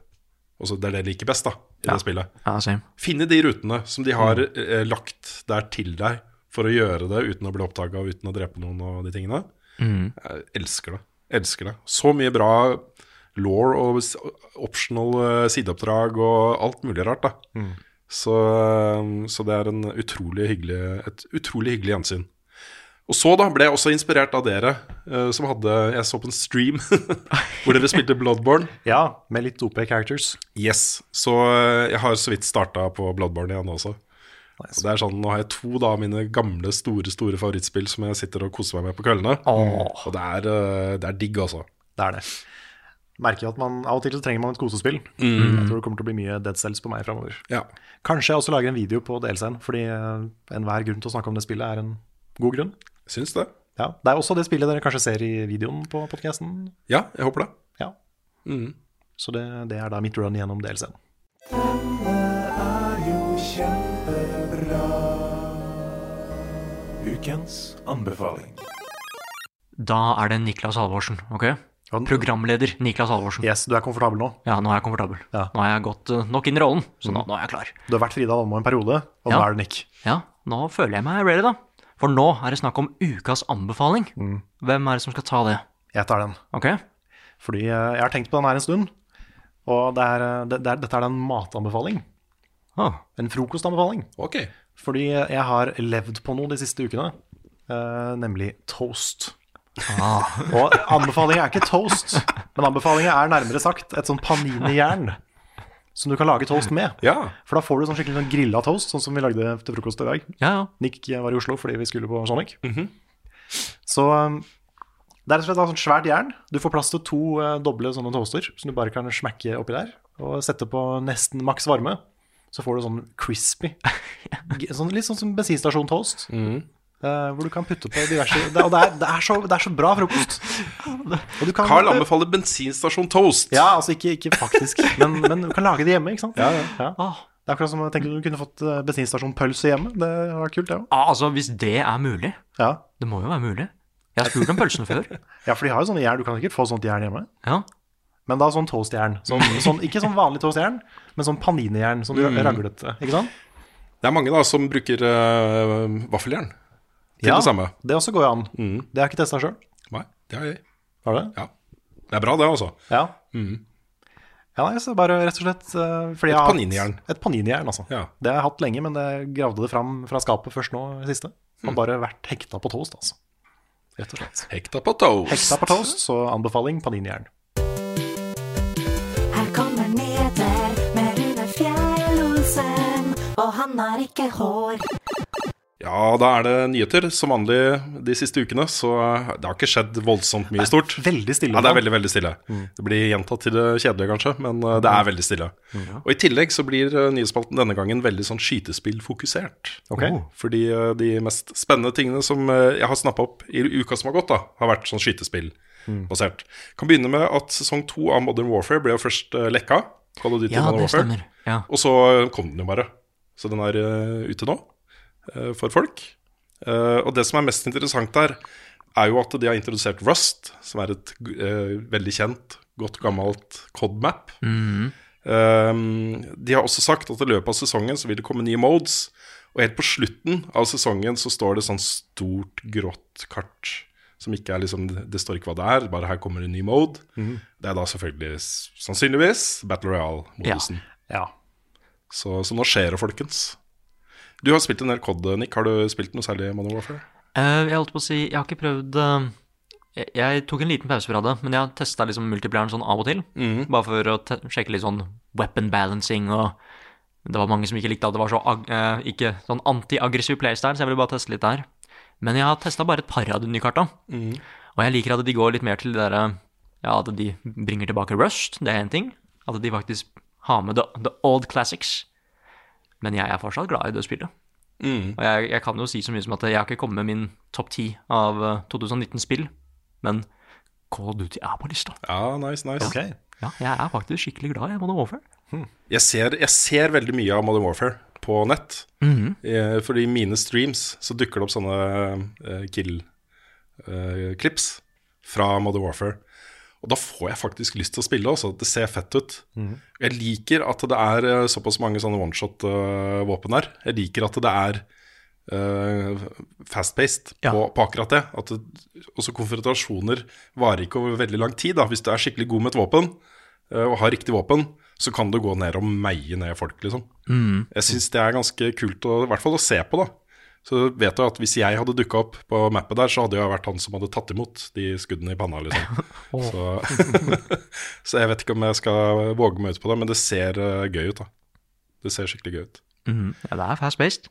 [SPEAKER 2] Altså, det er det jeg liker best, da, i det spillet.
[SPEAKER 1] Ja, same.
[SPEAKER 2] Finne de rutene som de har eh, lagt der til deg for å gjøre det uten å bli oppdaga og uten å drepe noen og de tingene. Jeg elsker det. Elsker det. Så mye bra law og s- optional eh, sideoppdrag og alt mulig rart, da. Så, eh, så det er en utrolig hyggelig, et utrolig hyggelig gjensyn. Og så da ble jeg også inspirert av dere eh, som hadde Jeg så på en stream hvor dere spilte Bloodborne.
[SPEAKER 3] Ja, med litt OP characters.
[SPEAKER 2] Yes, så eh, jeg har så vidt starta på Bloodborne igjen også. Og det er sånn, Nå har jeg to da, av mine gamle, store store favorittspill som jeg sitter og koser meg med på kveldene. Og det er, eh, det er digg, altså.
[SPEAKER 3] Det er det. Merker jo at man Av og til så trenger man et kosespill. Jeg tror det kommer til å bli mye Dead Cells på meg framover.
[SPEAKER 2] Ja.
[SPEAKER 3] Kanskje jeg også lager en video på DLC-en, fordi eh, enhver grunn til å snakke om det spillet er en god grunn.
[SPEAKER 2] Syns det.
[SPEAKER 3] Ja, Det er også det spillet dere kanskje ser i videoen på podkasten.
[SPEAKER 2] Ja, jeg håper det.
[SPEAKER 3] Ja. Så det, det er da mitt run gjennom DLC-en.
[SPEAKER 4] Ukens anbefaling.
[SPEAKER 1] Da er det Niklas Halvorsen, ok?
[SPEAKER 3] Ja, den-
[SPEAKER 1] Programleder Niklas Halvorsen.
[SPEAKER 3] Yes, du er komfortabel nå.
[SPEAKER 1] Ja, nå er jeg komfortabel.
[SPEAKER 3] Ja.
[SPEAKER 1] Nå har jeg gått eh, nok inn i rollen,
[SPEAKER 2] Mm.
[SPEAKER 1] så nå, nå er jeg klar.
[SPEAKER 3] Du har vært Frida Almo en periode, og nå
[SPEAKER 1] Ja.
[SPEAKER 3] er du Nick.
[SPEAKER 1] Ja, nå føler jeg meg ready, da. For nå er det snakk om ukas anbefaling.
[SPEAKER 2] Mm.
[SPEAKER 1] Hvem er det som skal ta det?
[SPEAKER 3] Jeg tar den.
[SPEAKER 1] Ok?
[SPEAKER 3] Fordi eh, jeg har tenkt på den her en stund. Og det er, eh, det, det er, dette er da en matanbefaling.
[SPEAKER 1] Åh,
[SPEAKER 3] En frokostanbefaling.
[SPEAKER 2] Ok.
[SPEAKER 3] Fordi jeg har levd på noe de siste ukene, eh, nemlig toast. Og anbefalingen er ikke toast, men anbefalingen er nærmere sagt et sånn panini-jern som du kan lage toast med.
[SPEAKER 2] Ja.
[SPEAKER 3] For da får du sånn skikkelig sånn grilla toast, sånn som vi lagde til frokost i dag.
[SPEAKER 1] Ja, ja.
[SPEAKER 3] Nick var i Oslo fordi vi skulle på Sonic. Så um, det er rett og slett et sånt svært jern. Du får plass til to eh, doble sånne toaster som du bare kan smekke oppi der. Og sette på nesten maks varme. så får du sånn crispy. G- Sånn, litt sånn som bensinstasjon-toast. eh, hvor du kan putte på diverse det, Og det er, det, er så, det er så bra frokost. Og du kan,
[SPEAKER 2] Carl anbefaler bensinstasjon Toast.
[SPEAKER 3] Ja, altså ikke, ikke faktisk, men, men du kan lage det hjemme, ikke sant? Ja.
[SPEAKER 1] Ah,
[SPEAKER 3] Det er akkurat som jeg tenkte du kunne fått eh, bensinstasjonpølse hjemme. Det hadde vært kult, det òg.
[SPEAKER 1] ah, altså, hvis det er mulig
[SPEAKER 3] Ja.
[SPEAKER 1] Det må jo være mulig. Jeg har spurt om pølsene før.
[SPEAKER 3] ja, for de har jo sånne jern. Du kan sikkert få sånt jern hjemme.
[SPEAKER 1] Ja.
[SPEAKER 3] Men da sånn toastjern. Sånn, sånn, ikke sånn vanlig toastjern, men sånn paninejern. Sånn
[SPEAKER 2] Mm.
[SPEAKER 3] raglete. Ikke sant?
[SPEAKER 2] Det er mange da som bruker eh, vaffeljern til det samme. Mm.
[SPEAKER 3] det også går jo an. Det har jeg ikke testa sjøl.
[SPEAKER 2] Nei, det har jeg.
[SPEAKER 3] Har du det?
[SPEAKER 2] Ja. Det er bra, det, altså.
[SPEAKER 3] Ja. Ja, nei, så bare rett og slett eh, fordi jeg
[SPEAKER 2] Et
[SPEAKER 3] har hatt-
[SPEAKER 2] paninijern.
[SPEAKER 3] Et paninijern, altså.
[SPEAKER 2] Ja.
[SPEAKER 3] Det har jeg hatt lenge, men jeg gravde det fram fra skapet først nå i det siste.
[SPEAKER 2] Mm.
[SPEAKER 3] Har bare vært hekta på toast, altså. Rett og slett.
[SPEAKER 2] Hekta på toast.
[SPEAKER 3] Hekta på toast, så anbefaling paninijern.
[SPEAKER 5] Her kommer nyheter med Rune Fjellosen, og han har ikke hår.
[SPEAKER 2] Ja, da er det nyheter. Som vanlig de siste ukene, så det har ikke skjedd voldsomt mye stort.
[SPEAKER 3] Veldig stille.
[SPEAKER 2] Ja,
[SPEAKER 3] nå.
[SPEAKER 2] det
[SPEAKER 3] Mm.
[SPEAKER 2] er veldig, veldig stille. Det blir gjentatt til det kjedelige, kanskje, men eh, det er veldig stille.
[SPEAKER 3] Mm,
[SPEAKER 2] Og i tillegg så blir eh, nyhetsspalten denne gangen veldig sånn skytespillfokusert.
[SPEAKER 3] Ok.
[SPEAKER 2] Oh. Fordi eh, de mest spennende tingene som eh, jeg har snappa opp i uka som har gått, da, har vært sånn skytespillbasert.
[SPEAKER 3] Mm.
[SPEAKER 2] Kan begynne med at sesong to av Modern Warfare ble jo først eh, lekka. Call of Duty
[SPEAKER 1] Ja,
[SPEAKER 2] Modern
[SPEAKER 1] det
[SPEAKER 2] Warfare.
[SPEAKER 1] stemmer. Ja.
[SPEAKER 2] Og så kom den jo bare. Så den er eh, ute nå eh, for folk. Eh, og det som er mest interessant der, er jo at de har introdusert Rust, som er et eh, veldig kjent, godt gammelt COD-map. Eh, de har også sagt at i løpet av sesongen så vil det komme nye modes. Og helt på slutten av sesongen så står det sånn stort, grått kart. Som ikke er liksom Det står ikke hva det er, bare her kommer en ny mode. Det er da selvfølgelig s- sannsynligvis Battle Royale-modusen.
[SPEAKER 3] Ja.
[SPEAKER 2] Så, så nå skjer det, folkens. Du har spilt en del COD, Nick. Har du spilt noe særlig Modern Warfare?
[SPEAKER 1] Eh, jeg holdt på å si Jeg har ikke prøvd eh, jeg, jeg tok en liten pause fra det, men jeg har testa liksom multiplieren sånn av og til. Bare for å te sjekke litt sånn weapon balancing og Det var mange som ikke likte at det var så ag eh, ikke sånn anti-aggressiv playstyle, så jeg ville bare teste litt der. Men jeg har testa bare et par av de nye karta. Og jeg liker at de går litt mer til det derre Ja, at de bringer tilbake Rust, det er én ting. At de faktisk har med the, the old classics. Men jeg er fortsatt glad i det spillet. Og jeg, jeg kan jo si så mye som at jeg har ikke kommet med min topp 10 av eh, 2019-spill, men Call of Duty er på lista.
[SPEAKER 2] Ja, nice, nice.
[SPEAKER 3] Ok.
[SPEAKER 1] Ja, jeg er faktisk skikkelig glad i Modern Warfare.
[SPEAKER 2] Jeg, ser, jeg ser veldig mye av Modern Warfare på nett. eh, fordi i mine streams så dukker det opp sånne eh, kill-klips fra Modern Warfare. Og da får jeg faktisk lyst til å spille. Også. Det ser fett ut. Jeg liker at det er eh, såpass mange sånne oneshot-våpen her. Jeg liker at det er eh, fast-paced
[SPEAKER 1] Ja.
[SPEAKER 2] på, på akkurat det. At det. Også konfrontasjoner varer ikke over veldig lang tid. Da. Hvis du er skikkelig god med et våpen, eh, og har riktig våpen, så kan du gå ned og meie ned folk, liksom. Jeg syns det er ganske kult å, i hvert fall å se på, da. Så vet du at hvis jeg hadde dukka opp på mappet der, så hadde jeg vært han som hadde tatt imot de skuddene i panna, liksom. så, så jeg vet ikke om jeg skal våge meg ut på det, men det ser eh, gøy ut, da. Det ser skikkelig gøy ut.
[SPEAKER 6] Mhm.
[SPEAKER 1] Ja, det er fast-based.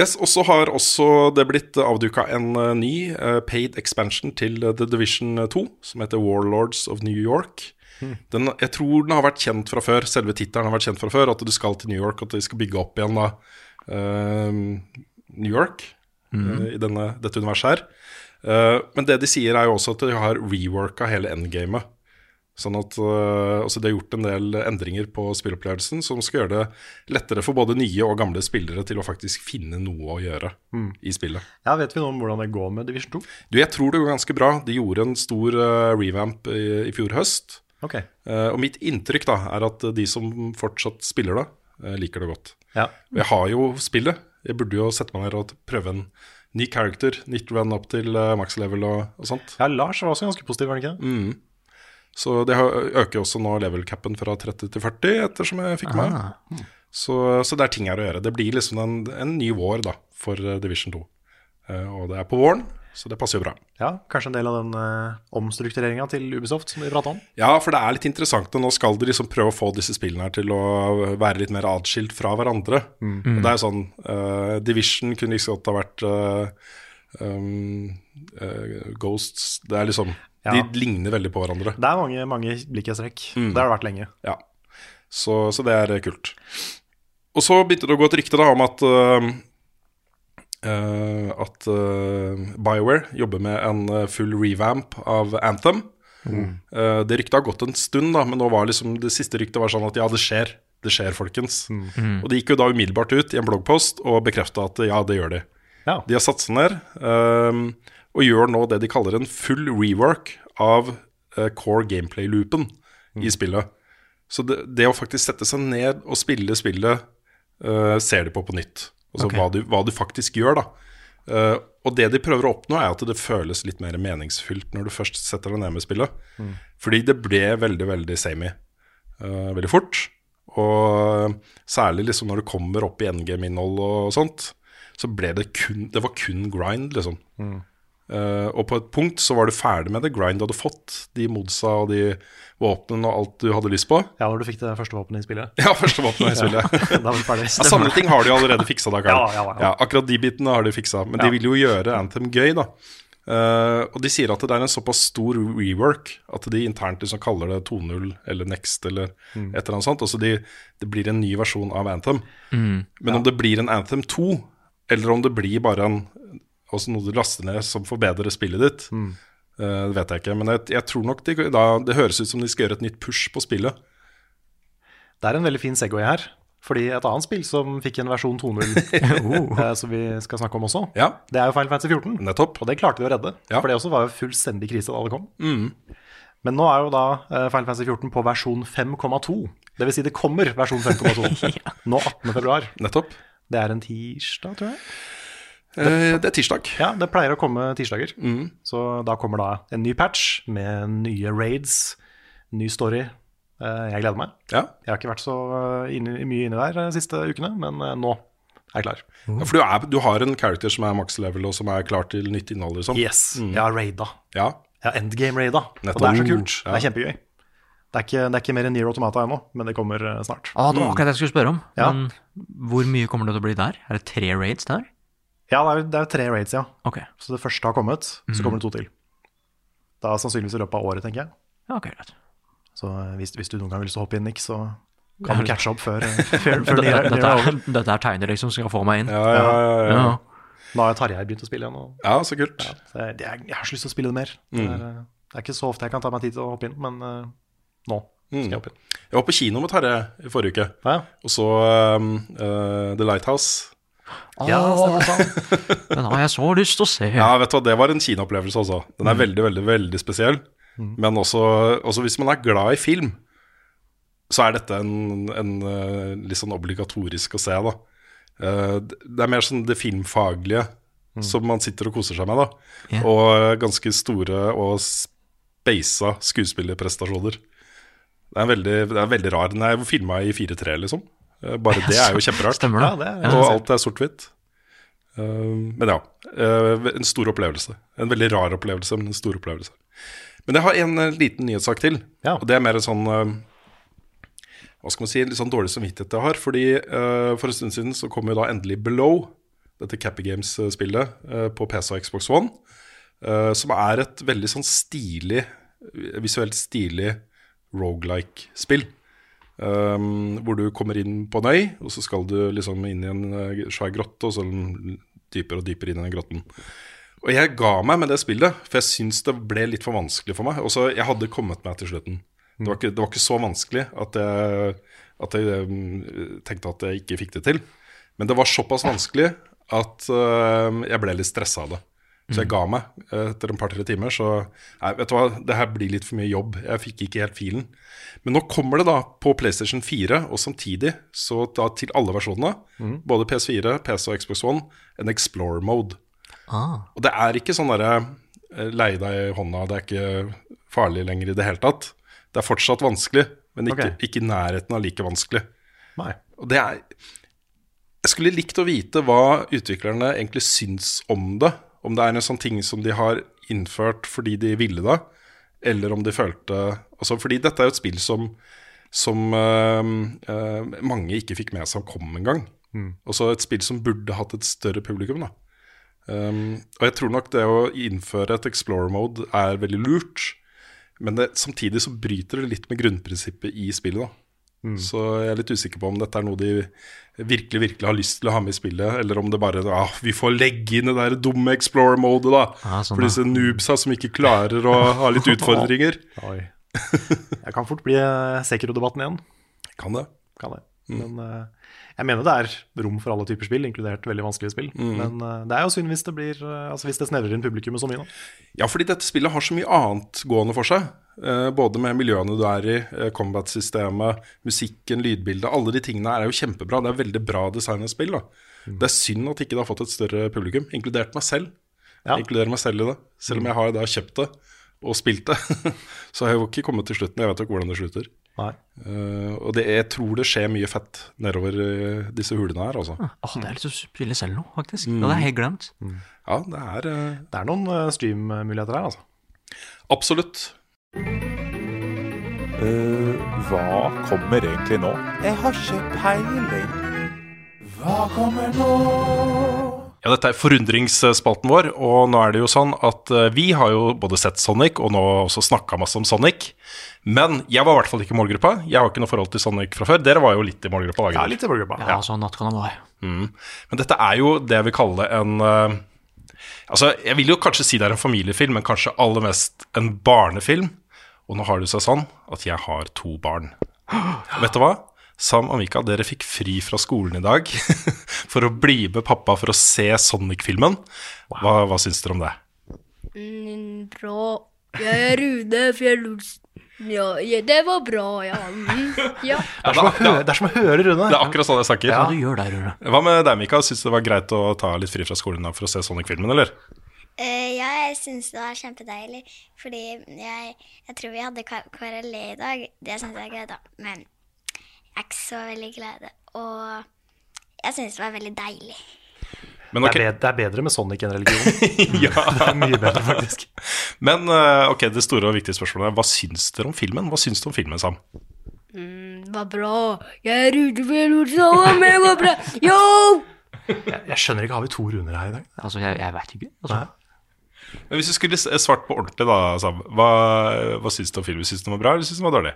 [SPEAKER 2] Yes, og så har også det blitt avduka en eh, ny eh, paid expansion til eh, The Division 2, som heter Warlords of New York. Den, jeg tror den har vært kjent fra før, selve tittelen har vært kjent fra før, at du skal til New York, at de skal bygge opp igjen da eh, New York eh, i denne, dette universet her. Eh, men det de sier, er jo også at de har reworka hele endgamet. Sånn at øh, altså De har gjort en del endringer på spillopplevelsen som skal gjøre det lettere for både nye og gamle spillere til å faktisk finne noe å gjøre i spillet.
[SPEAKER 3] Ja, vet vi noe om hvordan det går med Division 2?
[SPEAKER 2] Du, Jeg tror det går ganske bra. De gjorde en stor øh, revamp i, i fjor høst.
[SPEAKER 3] Ok.
[SPEAKER 2] Eh, og mitt inntrykk da er at de som fortsatt spiller det, eh, liker det godt.
[SPEAKER 3] Ja.
[SPEAKER 2] Og Jeg har jo spillet. Jeg burde jo sette meg ned og prøve en ny character, nytt run up til eh, max level og, og sånt.
[SPEAKER 3] ja, Lars var også ganske positiv, var han ikke det?
[SPEAKER 2] Så det har- øker også nå level capen fra 30 til 40, ettersom jeg fikk med. Så, så det er ting her å gjøre. Det blir liksom en, en ny vår da, for eh, Division 2. Eh, og det er på våren, så det passer jo bra.
[SPEAKER 3] Ja, Kanskje en del av den uh, omstruktureringa til Ubisoft som vi prata om?
[SPEAKER 2] Ja, for det er litt interessant, og nå skal de liksom prøve å få disse spillene her til å være litt mer atskilt fra hverandre. Og det er jo sånn eh, Division kunne liksom godt ha vært eh, um, eh, Ghosts Det er liksom
[SPEAKER 3] Ja.
[SPEAKER 2] De ligner veldig på hverandre.
[SPEAKER 3] Mm. Det er mange, mange likhetstrekk. Det har det vært lenge.
[SPEAKER 2] Ja. Så, så det er eh, kult. Og så begynte det å gå et rykte da om at eh, eh, At eh, BioWare jobber med en eh, full revamp av Anthem. Eh, det ryktet har gått en stund, da, men nå var liksom det siste ryktet var sånn at ja, det skjer. Det skjer, folkens. Og de gikk jo da umiddelbart ut i en bloggpost og bekrefta at ja, det gjør de.
[SPEAKER 3] Ja.
[SPEAKER 2] De har satt seg ned ehm, og gjør nå det de kaller en full rework av eh, core gameplay-loopen i spillet. Så det, det å faktisk sette seg ned og spille spillet eh, ser de på på nytt. Altså
[SPEAKER 6] Ok.
[SPEAKER 2] hva, du, hva du faktisk gjør, da. Eh, og det de prøver å oppnå, er at det føles litt mer meningsfylt når du først setter deg ned med spillet. Fordi det ble veldig, veldig samey eh, veldig fort. Og særlig liksom når du kommer opp i endgame-innhold og sånt, så ble det kun Det var kun grind, liksom. Eh, og på et punkt så var du ferdig med det grind du hadde fått, de modsa og de våpnene og alt du hadde lyst på.
[SPEAKER 3] Ja, når du fikk det første våpenet i spillet.
[SPEAKER 2] Ja, første våpenet i spillet.
[SPEAKER 3] da var vi ferdig.
[SPEAKER 2] Ja, Samme ting har de allerede fiksa. Da, Karl.
[SPEAKER 3] Ja, ja, ja.
[SPEAKER 2] akkurat de bitene har de fiksa. Men de vil jo gjøre Anthem gøy, da. Eh, og de sier at det er en såpass stor rework at de internt liksom kaller det 2.0 eller Next eller
[SPEAKER 3] Mm.
[SPEAKER 2] et eller annet sånt. Altså de, det blir en ny versjon av Anthem.
[SPEAKER 3] Mm.
[SPEAKER 2] Men om det blir en Anthem 2, eller om det blir bare en, også noe du laster ned som forbedrer spillet ditt,
[SPEAKER 3] Mm.
[SPEAKER 2] eh, det vet jeg ikke. Men jeg, jeg tror nok de, da, det høres ut som de skal gjøre et nytt push på spillet.
[SPEAKER 3] Det er en veldig fin Segway her. Fordi et annet spill som fikk en versjon 2.0, eh, som vi skal snakke om også,
[SPEAKER 2] Ja,
[SPEAKER 3] det er jo Final Fantasy 14.
[SPEAKER 2] nettopp.
[SPEAKER 3] Og det klarte de å redde,
[SPEAKER 2] Ja.
[SPEAKER 3] for det også var jo fullstendig krise da det kom. Men nå er jo da eh, Final Fantasy 14 på versjon 5,2. Det vil si det kommer versjon 5,2 nå 18. februar.
[SPEAKER 2] nettopp.
[SPEAKER 3] Det er en tirsdag, tror jeg.
[SPEAKER 2] Eh, det er tirsdag. Mm.
[SPEAKER 3] Ja, det pleier å komme tirsdager. Så da kommer da en ny patch med nye raids, ny story. Eh, Jeg gleder meg.
[SPEAKER 2] Ja.
[SPEAKER 3] Jeg har ikke vært så eh, inne, mye inne der de siste ukene, men eh, nå er jeg klar.
[SPEAKER 2] Ja, for du, er, du har en character som er max level, og som er klar til nytt innhold, liksom?
[SPEAKER 3] Yes, jeg har raida.
[SPEAKER 2] Ja.
[SPEAKER 3] Jeg har endgame-raida, og
[SPEAKER 2] Nettopp.
[SPEAKER 3] det er så kult.
[SPEAKER 2] Ja.
[SPEAKER 3] Det er kjempegøy. Det er ikke, det er ikke mer enn Near Automata ennå, men det kommer eh, snart.
[SPEAKER 6] Ah, det var
[SPEAKER 1] Mm.
[SPEAKER 6] akkurat det jeg skulle spørre om.
[SPEAKER 3] Ja.
[SPEAKER 6] Men hvor mye kommer det til å bli der? Er det tre raids der?
[SPEAKER 3] Ja, det er, jo- det er jo tre raids, ja.
[SPEAKER 6] Ok.
[SPEAKER 3] Så det første har kommet, så kommer det to til. Da sannsynligvis i løpet av året, tenker jeg.
[SPEAKER 6] Ja, ok, greit.
[SPEAKER 3] Så eh, hvis, hvis du noen gang vil hoppe inn, Nick, så kan du catche opp før, eh, før, før
[SPEAKER 6] Dette,
[SPEAKER 3] Near-
[SPEAKER 6] dette,
[SPEAKER 3] Near er over.
[SPEAKER 6] er, dette er tegner liksom som skal få meg inn.
[SPEAKER 2] Ja, ja, ja, ja.
[SPEAKER 6] Ja.
[SPEAKER 3] Nå har Tarjei begynt å spille igjen, og
[SPEAKER 2] ja så kult.
[SPEAKER 3] så jeg, jeg, jeg har så lyst til å spille det mer. Det, er, eh, det er ikke så ofte jeg kan ta meg tid til å hoppe inn, men eh, nå skal jeg hoppe inn.
[SPEAKER 2] Mm. Jeg var på kino med Tarjei i forrige uke,
[SPEAKER 3] Ja,
[SPEAKER 2] og så um, eh, The Lighthouse.
[SPEAKER 3] ja stemmer sånn.
[SPEAKER 6] Den har ah, jeg så lyst til å se.
[SPEAKER 2] Ja, vet du hva, det var en kinoopplevelse, altså. Den er
[SPEAKER 6] Mm.
[SPEAKER 2] veldig, veldig, veldig spesiell. Men også, også hvis man er glad i film, så er dette en, en eh, litt sånn obligatorisk å se, da. Eh, Det er mer sånn det filmfaglige som man sitter og koser seg med, da.
[SPEAKER 6] Mm. Ja.
[SPEAKER 2] Og eh, ganske store og speisa skuespillerprestasjoner. Det er en veldig, det er veldig rar. Den er filma i 4-3, liksom. Eh, Bare det er jo kjemperart.
[SPEAKER 6] Stemmer
[SPEAKER 3] Ja,
[SPEAKER 6] det?
[SPEAKER 3] det er-
[SPEAKER 6] Ja.
[SPEAKER 2] Og alt er sort-hvitt. Eh, men ja. eh, en stor opplevelse. En veldig rar opplevelse, men en stor opplevelse. Men jeg har en eh, liten nyhetssak til.
[SPEAKER 3] Ja.
[SPEAKER 2] Og det er mer en sånn eh, Hva skal man si, en litt sånn dårlig samvittighet jeg har. Fordi eh, for en stund siden så kom jo da endelig Below, dette Cappy Games-spillet, eh, på PC og Xbox One. eh, som er et veldig sånn stilig, visuelt stilig rogelike-spill. Um, hvor du kommer inn på en øy, og så skal du liksom inn i en eh, svær grotte, og så dypere og dypere inn i den grotten. Og jeg ga meg med det spillet, for jeg syns det ble litt for vanskelig for meg. Og så jeg hadde kommet meg til slutten. Det var ikke, det var ikke så vanskelig at jeg, at jeg mm, tenkte at jeg ikke fikk det til. Men det var såpass vanskelig at eh, jeg ble litt stressa av det. Så jeg ga meg. eh, Etter en par-tre timer så Nei, vet du hva, det her blir litt for mye jobb. Jeg fikk ikke helt filen. Men nå kommer det da på PlayStation 4, og samtidig så da til alle versjonene, både PS4, PC og Xbox One, en Explorer mode. Og det er ikke sånn derre eh, leie deg i hånda, det er ikke farlig lenger i det hele tatt. Det er fortsatt vanskelig, men ikke,
[SPEAKER 3] Ok.
[SPEAKER 2] ikke i nærheten av like vanskelig.
[SPEAKER 3] Nei.
[SPEAKER 2] Og det er Jeg skulle likt å vite hva utviklerne egentlig syns om det. Om det er en sånn ting som de har innført fordi de ville det, eller om de følte altså, Fordi dette er jo et spill som, som øhm, øhm, mange ikke fikk med seg kom engang.
[SPEAKER 3] Mm.
[SPEAKER 2] Også et spill som burde hatt et større publikum. da. Um, og jeg tror nok det å innføre et explorer mode er veldig lurt. Men det, samtidig så bryter det litt med grunnprinsippet i spillet. da
[SPEAKER 3] Mm.
[SPEAKER 2] Så jeg er litt usikker på om dette er noe de virkelig virkelig har lyst til å ha med i spillet, eller om det bare ah, Vi får legge inn det der dumme Explorer-modet, da.
[SPEAKER 3] Ja, sånn,
[SPEAKER 2] for disse noobsa som ikke klarer å ha litt utfordringer.
[SPEAKER 3] Oi. Jeg kan fort bli eh, Sekiro-debatten igjen.
[SPEAKER 2] Kan det.
[SPEAKER 3] Kan det. Men eh, jeg mener det er rom for alle typer spill, inkludert veldig vanskelige spill. Men eh, det er jo synd hvis det, blir, eh, altså hvis det snevrer inn publikummet så mye, da.
[SPEAKER 2] Ja, fordi dette spillet har så mye annet gående for seg. Eh, både med miljøene du er i, eh, combat-systemet, musikken, lydbildet. Alle de tingene her er jo kjempebra. Det er veldig bra designet spill. da. Det er synd at ikke det har fått et større publikum, inkludert meg selv.
[SPEAKER 3] Ja.
[SPEAKER 2] Jeg inkluderer meg selv i det. Selv om jeg har da kjøpt det og spilt det, så har jeg jo ikke kommet til slutten. Jeg vet jo ikke hvordan det slutter.
[SPEAKER 3] Nei.
[SPEAKER 2] Eh, og det, jeg tror det skjer mye fett nedover eh, disse hulene her, altså.
[SPEAKER 1] Ah.
[SPEAKER 6] Åh, det er litt å spille selv nå, faktisk. Det
[SPEAKER 1] Mm.
[SPEAKER 6] hadde jeg helt glemt.
[SPEAKER 2] Ja, det er eh,
[SPEAKER 3] Det er noen eh, stream-muligheter her, altså.
[SPEAKER 2] Absolutt.
[SPEAKER 7] hva kommer egentlig nå?
[SPEAKER 8] Jeg har ikke peiling. Hva kommer nå?
[SPEAKER 2] Ja, dette er forundringsspalten vår, og nå er det jo sånn at eh, vi har jo både sett Sonic og nå også snakka masse om Sonic. Men jeg var i hvert fall ikke i målgruppa. Jeg har ikke noe forhold til Sonic fra før. Dere var jo litt i målgruppa. Ja, litt
[SPEAKER 3] i målgruppa.
[SPEAKER 2] Ja,
[SPEAKER 6] sånn nattkanal var jeg.
[SPEAKER 2] Mm. Men dette er jo det jeg vil kalle en eh, Altså, jeg vil jo kanskje si det er en familiefilm, men kanskje aller mest en barnefilm. Og nå har det seg sånn at jeg har to barn. Vet du hva? Sam og Mika, dere fikk fri fra skolen i dag for å bli med pappa for å se Sonic-filmen. Hva, hva syns dere om det?
[SPEAKER 9] Mm, bra. Jeg er Rune Fjellolsen. Ja, ja, det var bra, ja. Mm, ja.
[SPEAKER 2] Det er, som å høre, Rune. Det er akkurat sånn jeg snakker.
[SPEAKER 6] Ja, du gjør det, Rune.
[SPEAKER 2] Hva med deg, Mika? Syns du det var greit å ta litt fri fra skolen da for å se Sonic-filmen, eller?
[SPEAKER 10] Eh, ja, jeg syns det var kjempedeilig, fordi jeg, jeg tror vi hadde ka- KRLE i dag. Det syns jeg er gøy, da. Men jeg er ikke så veldig glad i det. Og jeg syns det var veldig deilig.
[SPEAKER 3] det, er bedre, det er bedre med Sonic enn religion.
[SPEAKER 2] ja.
[SPEAKER 3] Det er mye bedre, faktisk.
[SPEAKER 2] Men eh, ok, det store og viktige spørsmålet er hva syns dere om filmen? Hva syns du om filmen, Sam?
[SPEAKER 9] Mm, det var bra. Jeg er Rune Fjellolsen, han var med, det var bra. Yo!
[SPEAKER 3] Jeg, jeg skjønner ikke, har vi to runder her i dag?
[SPEAKER 6] Altså, jeg, jeg vet ikke.
[SPEAKER 2] Men Hvis du skulle s- eh, svart på ordentlig, da, Sam, hva, hva syns du om filmen? Syns du den var bra, eller syns du den var dårlig?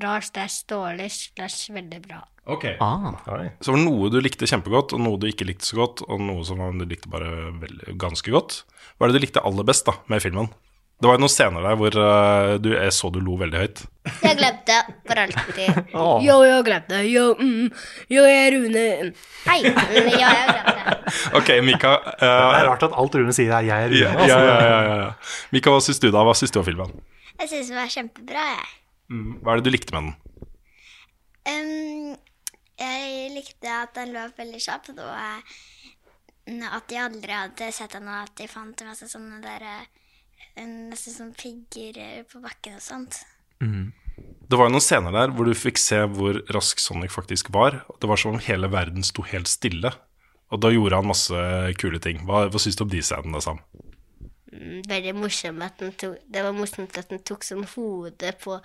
[SPEAKER 9] Bra slash dårlig slash veldig bra.
[SPEAKER 6] Ah.
[SPEAKER 2] Så det var noe du likte kjempegodt, og noe du ikke likte så godt, og noe som du likte bare vel- ganske godt. Hva er det du likte aller best da, med filmen? Det var jo noen scener der hvor eh, du, jeg så du lo veldig høyt.
[SPEAKER 9] Jeg glemte for alltid.
[SPEAKER 2] Åh.
[SPEAKER 9] Yo, jeg glemte. Yo, mm, yo, jeg er Rune. Hei. Mm, ja, jeg glemte.
[SPEAKER 2] Ok, Mika. eh,
[SPEAKER 3] det er rart at alt Rune sier er 'jeg er Rune'.
[SPEAKER 2] Ja,
[SPEAKER 3] altså.
[SPEAKER 2] ja, ja, ja, ja. Mika, hva syns du da? Hva syns du om filmen?
[SPEAKER 10] Jeg syns det var kjempebra, jeg.
[SPEAKER 3] Mm.
[SPEAKER 2] Hva er det du likte med den?
[SPEAKER 10] Ehm, jeg likte at den løp veldig kjapt, og eh, at de aldri hadde sett den, og at de fant masse sånne der eh, Nesten sånn pigger eh, på bakken og sånt.
[SPEAKER 2] Det var jo noen scener der hvor du fikk se hvor rask Sonic faktisk var. Det var som om hele verden sto helt stille. Og da gjorde han masse kule ting. Hva, hva syns du om de scenene, da, Sam?
[SPEAKER 9] Mm, Veldig morsom at den tok, det var morsomt at den tok sånn hodet på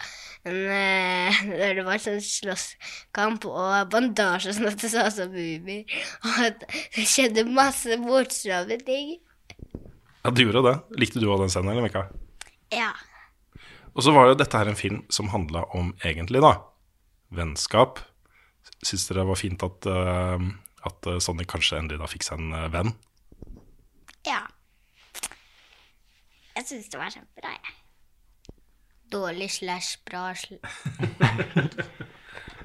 [SPEAKER 9] en eh, når Det var sånn slåsskamp og bandasje sånn at det så ut som mumier. Og at det skjedde masse morsomme ting.
[SPEAKER 2] Ja, du gjorde det. Likte du også den scenen, eller, Mika?
[SPEAKER 10] Ja.
[SPEAKER 2] Og så var jo dette her en film som handla om egentlig, da, vennskap. Syns dere det var fint at, eh, at eh, Sonic kanskje endelig da fikk seg en eh, venn?
[SPEAKER 10] Ja. Jeg syns det var kjempebra, jeg.
[SPEAKER 9] Dårlig slash bra sl...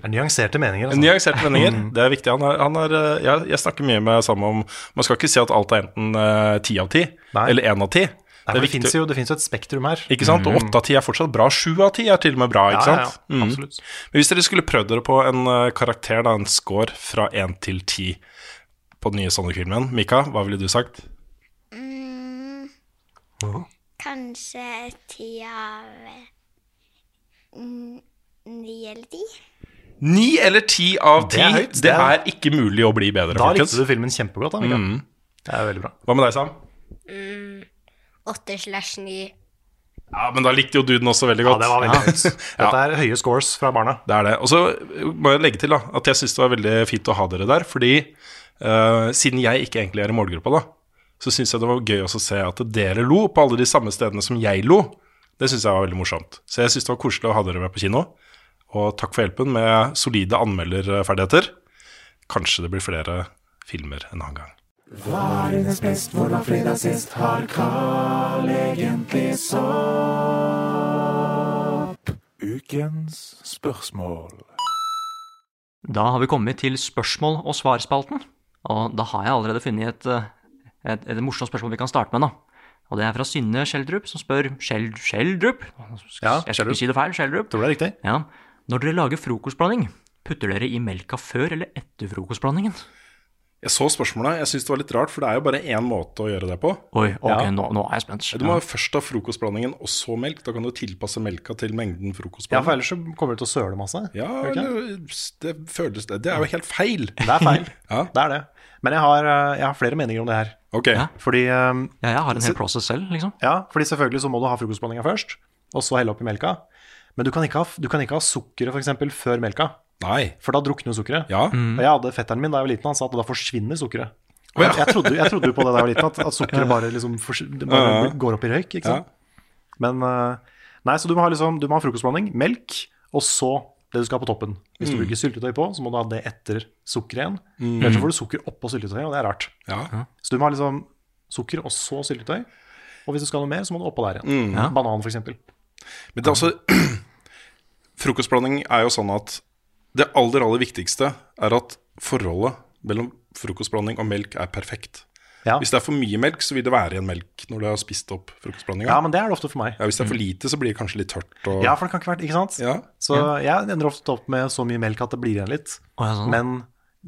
[SPEAKER 3] Det er nyanserte meninger. altså.
[SPEAKER 2] Nyanserte meninger,
[SPEAKER 3] Mm.
[SPEAKER 2] det er viktig. Han er, han er, eh, jeg, jeg snakker mye med Sam om Man skal ikke si at alt er enten eh, ti av ti eller én av ti.
[SPEAKER 3] Nei, men Det, finnes jo, det finnes jo et spektrum her.
[SPEAKER 2] Ikke sant? Og åtte av ti er fortsatt bra. Sju av ti er til og med bra.
[SPEAKER 3] Mm.
[SPEAKER 2] ikke
[SPEAKER 3] Ja, ja, ja.
[SPEAKER 2] sant? Mm. Men hvis dere skulle prøvd dere på en eh, karakter, da, en score fra én til ti på den nye Sonic-filmen Mika, hva ville du sagt?
[SPEAKER 10] Mm, kanskje ti av eh, mm, ni eller ti?
[SPEAKER 2] Ni eller ti av ti!
[SPEAKER 3] Det er høyt.
[SPEAKER 2] Det, er ikke mulig å bli bedre,
[SPEAKER 3] Da
[SPEAKER 2] folkens.
[SPEAKER 3] likte du filmen kjempegodt. da, Mikael.
[SPEAKER 2] Mm.
[SPEAKER 3] Det er veldig bra.
[SPEAKER 2] Hva med deg, Sam?
[SPEAKER 9] Mm, åtte slash ni.
[SPEAKER 2] Ja, Men da likte jo du den også veldig godt.
[SPEAKER 3] Ja, det var veldig høyt. Dette
[SPEAKER 2] er høye scores fra barna. Det er det. Og så må jeg legge til da, at jeg syns det var veldig fint å ha dere der. Fordi eh, siden jeg ikke egentlig er i målgruppa, da, så syns jeg det var gøy også å se at dere lo på alle de samme stedene som jeg lo. Det syns jeg var veldig morsomt. Så jeg syns det var koselig å ha dere med på kino. Og takk for hjelpen med solide anmelderferdigheter. Kanskje det blir flere filmer en annen gang.
[SPEAKER 8] Hva er hennes best, hvor var fredag sist, har Carl egentlig sopp?
[SPEAKER 4] Ukens spørsmål.
[SPEAKER 1] Da har vi kommet til spørsmål- og svarspalten. Og da har jeg allerede funnet et, eh, et, et morsomt spørsmål vi kan starte med. da. Og det er fra Synne Skjeldrup, som spør Skjeld, Skjeldrup?
[SPEAKER 3] Ja,
[SPEAKER 1] jeg skal ikke si det feil. Skjeldrup.
[SPEAKER 3] Tror det er riktig.
[SPEAKER 1] Ja. Når dere lager frokostblanding, putter dere i melka før eller etter frokostblandingen?
[SPEAKER 2] Jeg så spørsmålet, jeg syns det var litt rart, for det er jo bare én måte å gjøre det på.
[SPEAKER 1] Oi, ok, nå, nå er jeg spent.
[SPEAKER 2] Du må
[SPEAKER 1] Ja.
[SPEAKER 2] jo først ha frokostblandingen og så melk. Da kan du tilpasse melka til mengden frokostblanding.
[SPEAKER 3] Ja, for ellers så kommer du til å søle masse.
[SPEAKER 2] Ja,
[SPEAKER 3] Gjør du ikke
[SPEAKER 2] eller, det føles det. Det er jo helt feil.
[SPEAKER 3] Det er feil.
[SPEAKER 2] ja.
[SPEAKER 3] Det er det. Men jeg har, eh, jeg har flere meninger om det her.
[SPEAKER 2] Ok.
[SPEAKER 1] Ja.
[SPEAKER 3] Fordi um,
[SPEAKER 1] Ja, jeg har en hel process selv, liksom.
[SPEAKER 3] Ja, fordi selvfølgelig så må du ha frokostblandinga først, og så helle oppi melka. Men du kan ikke ha, du kan ikke ha sukkeret for eksempel, før melka,
[SPEAKER 2] Nei.
[SPEAKER 3] for da drukner jo sukkeret.
[SPEAKER 2] Ja.
[SPEAKER 3] Og jeg hadde fetteren min da jeg var liten, han sa at da forsvinner sukkeret.
[SPEAKER 2] Å, ja.
[SPEAKER 3] jeg, trodde, jeg trodde jo på det da jeg var liten, at, at
[SPEAKER 2] Ja.
[SPEAKER 3] sukkeret bare, liksom, fors- det
[SPEAKER 2] Ja,
[SPEAKER 3] bare
[SPEAKER 2] ja.
[SPEAKER 3] går opp i røyk. Ikke sant? Men eh, Nei, så du må ha, liksom, du må ha frokostblanding, melk, og så det du skal ha på toppen. Hvis du
[SPEAKER 2] Mm.
[SPEAKER 3] bruker syltetøy på, så må du ha det etter sukkeret igjen.
[SPEAKER 2] Mm.
[SPEAKER 3] Ellers så får du sukker oppå syltetøyet, og det er rart.
[SPEAKER 2] Ja.
[SPEAKER 3] Så du må ha liksom sukker og så syltetøy. Og hvis du skal ha noe mer, så må du oppå der igjen.
[SPEAKER 2] Mm. Ja.
[SPEAKER 3] Banan, f.eks.
[SPEAKER 2] Men det er altså Frokostblanding er jo sånn at det aller, aller viktigste er at forholdet mellom frokostblanding og melk er perfekt.
[SPEAKER 3] Ja.
[SPEAKER 2] Hvis det er for mye melk, så vil det være igjen melk når du har spist opp frokostblandinga.
[SPEAKER 3] Ja, men det er det ofte for meg.
[SPEAKER 2] Ja, hvis det er for lite, så blir det kanskje litt tørt. Og...
[SPEAKER 3] Ja, for det kan ikke være Ikke sant?
[SPEAKER 2] Ja.
[SPEAKER 3] Så jeg ender ofte opp med så mye melk at det blir igjen litt.
[SPEAKER 1] Å, ja, sånn.
[SPEAKER 3] Men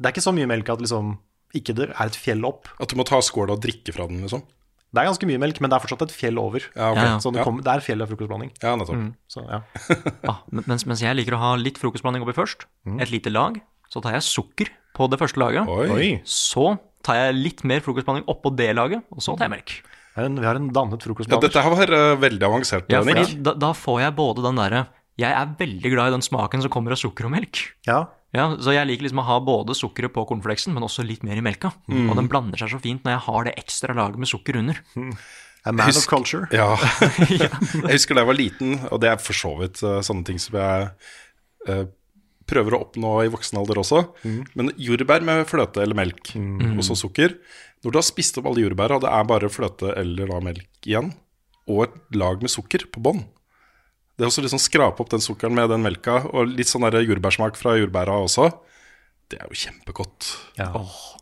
[SPEAKER 3] det er ikke så mye melk at liksom ikke det er et fjell opp.
[SPEAKER 2] At du må ta skåla og drikke fra den, liksom?
[SPEAKER 3] Det er ganske mye melk, men det er fortsatt et fjell over.
[SPEAKER 2] Ja, ok.
[SPEAKER 3] Så det,
[SPEAKER 2] Ja.
[SPEAKER 3] kommer, det er fjellet av frokostblanding.
[SPEAKER 2] Ja, nettopp.
[SPEAKER 3] Mm, så, ja.
[SPEAKER 1] Ja, men- mens, mens jeg liker å ha litt frokostblanding oppi først,
[SPEAKER 3] Mm.
[SPEAKER 1] et lite lag, så tar jeg sukker på det første laget.
[SPEAKER 2] Oi. Oi.
[SPEAKER 1] Så tar jeg litt mer frokostblanding oppå det laget, og så tar jeg melk.
[SPEAKER 3] Det er en- Vi har en dannet
[SPEAKER 2] Ja,
[SPEAKER 3] frokostblanding.
[SPEAKER 2] dette her var eh, veldig avansert.
[SPEAKER 1] Ja,
[SPEAKER 2] Henrik.
[SPEAKER 1] fordi da, da får jeg både den derre Jeg er veldig glad i den smaken som kommer av sukker og melk.
[SPEAKER 3] Ja.
[SPEAKER 1] Ja, så jeg liker liksom å ha både sukkeret på cornflakesen, men også litt mer i melka.
[SPEAKER 2] Mm.
[SPEAKER 1] Og den blander seg så fint når jeg har det ekstra laget med sukker under.
[SPEAKER 3] A man
[SPEAKER 2] Husk-
[SPEAKER 3] of culture.
[SPEAKER 2] Ja. jeg husker da jeg var liten, og det er for så vidt eh, sånne ting som jeg eh, prøver å oppnå i voksen alder også.
[SPEAKER 3] Mm.
[SPEAKER 2] Men jordbær med fløte eller melk, og så sukker Når du har spist opp alle jordbæra, og det er bare fløte eller da melk igjen, og et lag med sukker på bånn Det er også liksom skrape opp den sukkeren med den melka, og litt sånn der jordbærsmak fra jordbæra også. Det er jo kjempegodt.
[SPEAKER 3] Ja.
[SPEAKER 1] Åh.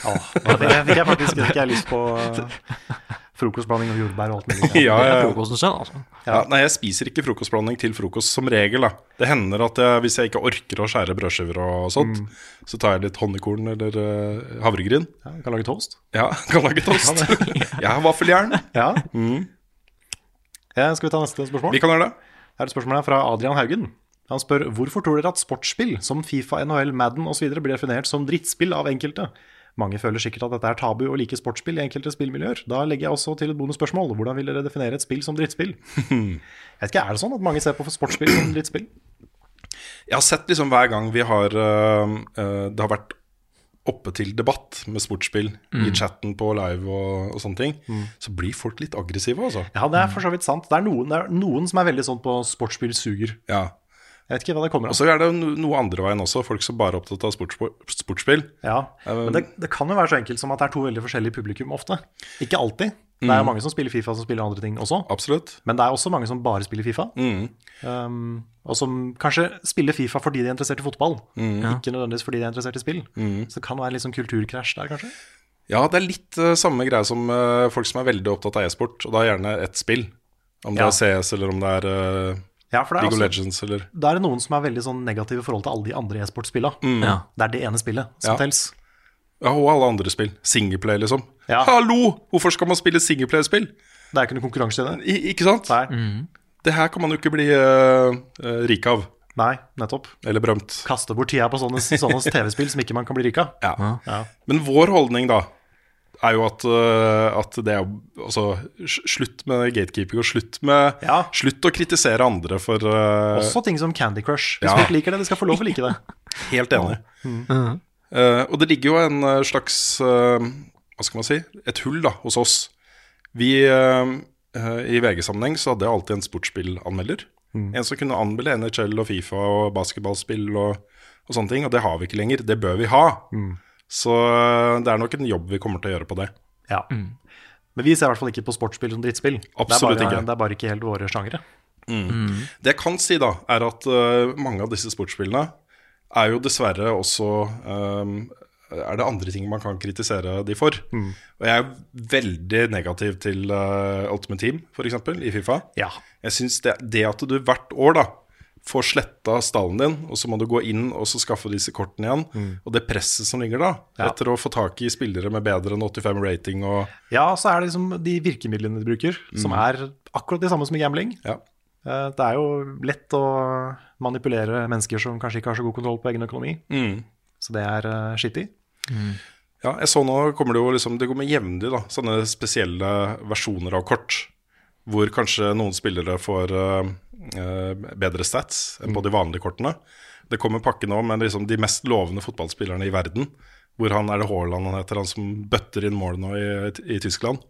[SPEAKER 3] Ja, det fikk jeg faktisk fikk jeg lyst på eh, frokostblanding og jordbær og alt mulig.
[SPEAKER 2] Ja, ja, ja.
[SPEAKER 1] Frokosten selv, altså.
[SPEAKER 2] Ja, nei, jeg spiser ikke frokostblanding til frokost som regel. da Det hender at jeg, hvis jeg ikke orker å skjære brødskiver og sånt, så tar jeg litt honningkorn eller eh, havregryn.
[SPEAKER 3] Ja, kan lage toast.
[SPEAKER 2] Ja, kan lage tost. jeg har vaffeljern.
[SPEAKER 3] Ja.
[SPEAKER 2] Mm.
[SPEAKER 3] Eh, Skal vi ta neste spørsmål?
[SPEAKER 2] Vi kan gjøre det.
[SPEAKER 3] Her er et spørsmål her fra Adrian Haugen. Han spør hvorfor tror dere at sportsspill som Fifa, NHL, Madden osv. blir definert som drittspill av enkelte? Mange føler sikkert at dette er tabu og liker sportsspill i enkelte spillmiljøer. Da legger jeg også til et bonusspørsmål. Hvordan vil dere definere et spill som drittspill? Jeg vet ikke, Er det sånn at mange ser på sportsspill som drittspill?
[SPEAKER 2] Jeg har sett liksom hver gang vi har eh, eh, Det har vært oppe til debatt med sportsspill i
[SPEAKER 3] Mm.
[SPEAKER 2] chatten på live og, og sånne ting, så blir folk litt aggressive, altså.
[SPEAKER 3] Ja, det er for så vidt sant. Det er noen, det er noen som er veldig sånn på sportsspill suger.
[SPEAKER 2] Ja.
[SPEAKER 3] Jeg vet ikke hva det kommer
[SPEAKER 2] Og
[SPEAKER 3] av.
[SPEAKER 2] så er det jo no- noe andre veien også, folk som bare er opptatt av sportspo- sportsspill.
[SPEAKER 3] Ja, Men det, det kan jo være så enkelt som at det er to veldig forskjellige publikum ofte. Ikke alltid. Det er
[SPEAKER 2] Mm.
[SPEAKER 3] jo mange som spiller Fifa som spiller andre ting også.
[SPEAKER 2] Absolutt.
[SPEAKER 3] Men det er også mange som bare spiller Fifa.
[SPEAKER 2] Mm.
[SPEAKER 3] Um, og som kanskje spiller Fifa fordi de er interessert i fotball,
[SPEAKER 2] Mm. Ja.
[SPEAKER 3] ikke nødvendigvis fordi de er interessert i spill. Så det kan være litt sånn kulturkrasj der, kanskje.
[SPEAKER 2] Ja, det er litt eh, samme greie som eh, folk som er veldig opptatt av e-sport, og da gjerne ett spill. Om
[SPEAKER 3] Ja.
[SPEAKER 2] det er CS, eller om det er eh,
[SPEAKER 3] Ja, for det er
[SPEAKER 2] League of
[SPEAKER 3] også-
[SPEAKER 2] Legends, eller
[SPEAKER 3] Da er det noen som er veldig sånn negative i forhold til alle de andre e-sportspilla.
[SPEAKER 2] Mm. Ja.
[SPEAKER 3] Det er det ene spillet som
[SPEAKER 2] Ja.
[SPEAKER 3] tels.
[SPEAKER 2] Ja, og alle andre spill. Singleplay, liksom.
[SPEAKER 3] Ja.
[SPEAKER 2] Hallo! Hvorfor skal man spille singleplay-spill?
[SPEAKER 3] Det er ikke noe konkurranse i det.
[SPEAKER 2] I, ikke sant? Det her kan man jo ikke bli eh, eh, rik av.
[SPEAKER 3] Nei, nettopp.
[SPEAKER 2] Eller berømt.
[SPEAKER 3] Kaste bort tida på sånne, sånne TV-spill som ikke man kan bli rik av.
[SPEAKER 2] Ja.
[SPEAKER 3] Ja.
[SPEAKER 2] Men vår holdning, da, er jo at, eh, at det er jo- Altså, sl- slutt med gatekeeping, og slutt med Slutt å kritisere andre for eh,
[SPEAKER 3] Også ting som Candy Crush. Hvis
[SPEAKER 2] Ja.
[SPEAKER 3] du ikke liker det, de skal få lov å like det.
[SPEAKER 2] Helt enig. Eh, og det ligger jo en eh, slags eh, Hva skal man si? Et hull da, hos oss. Vi eh, eh, I VG-sammenheng så hadde jeg alltid en sportsspillanmelder. En som kunne anmelde NHL og Fifa og basketballspill og, og sånne ting. Og det har vi ikke lenger. Det bør vi ha. Så eh, det er nok en jobb vi kommer til å gjøre på det.
[SPEAKER 3] Ja. Men vi ser i hvert fall ikke på sportsspill som drittspill.
[SPEAKER 2] Absolutt
[SPEAKER 3] det er bare,
[SPEAKER 2] ikke.
[SPEAKER 3] Det er bare ikke helt våre sjangere.
[SPEAKER 2] Mm. Det jeg kan si, da, er at eh, mange av disse sportsspillene er jo dessverre også eh, Er det andre ting man kan kritisere de for?
[SPEAKER 3] Mm.
[SPEAKER 2] Og jeg er veldig negativ til eh, Ultimate Team, f.eks., i Fifa. Jeg synes det, det at du hvert år da får sletta stallen din, og så må du gå inn og så skaffe disse kortene igjen,
[SPEAKER 3] Mm.
[SPEAKER 2] og det presset som ligger da,
[SPEAKER 3] Ja.
[SPEAKER 2] etter å få tak i spillere med bedre enn 85 rating og
[SPEAKER 3] Ja, så er det liksom de virkemidlene de bruker, som
[SPEAKER 2] Mm.
[SPEAKER 3] er akkurat de samme som i gambling. Eh, Det er jo lett å manipulere mennesker som kanskje ikke har så god kontroll på egen økonomi.
[SPEAKER 2] Mm.
[SPEAKER 3] Så det er eh, skittig.
[SPEAKER 2] Ja, jeg så nå kommer det jo liksom Det kommer jevnlig da Sånne spesielle versjoner av kort Hvor kanskje noen spillere får eh, eh, bedre stats Enn på de vanlige kortene Det kommer pakken nå med liksom de mest lovende fotballspillerne i verden Hvor han er det Haaland han heter Han som bøtter inn mål nå i, i Tyskland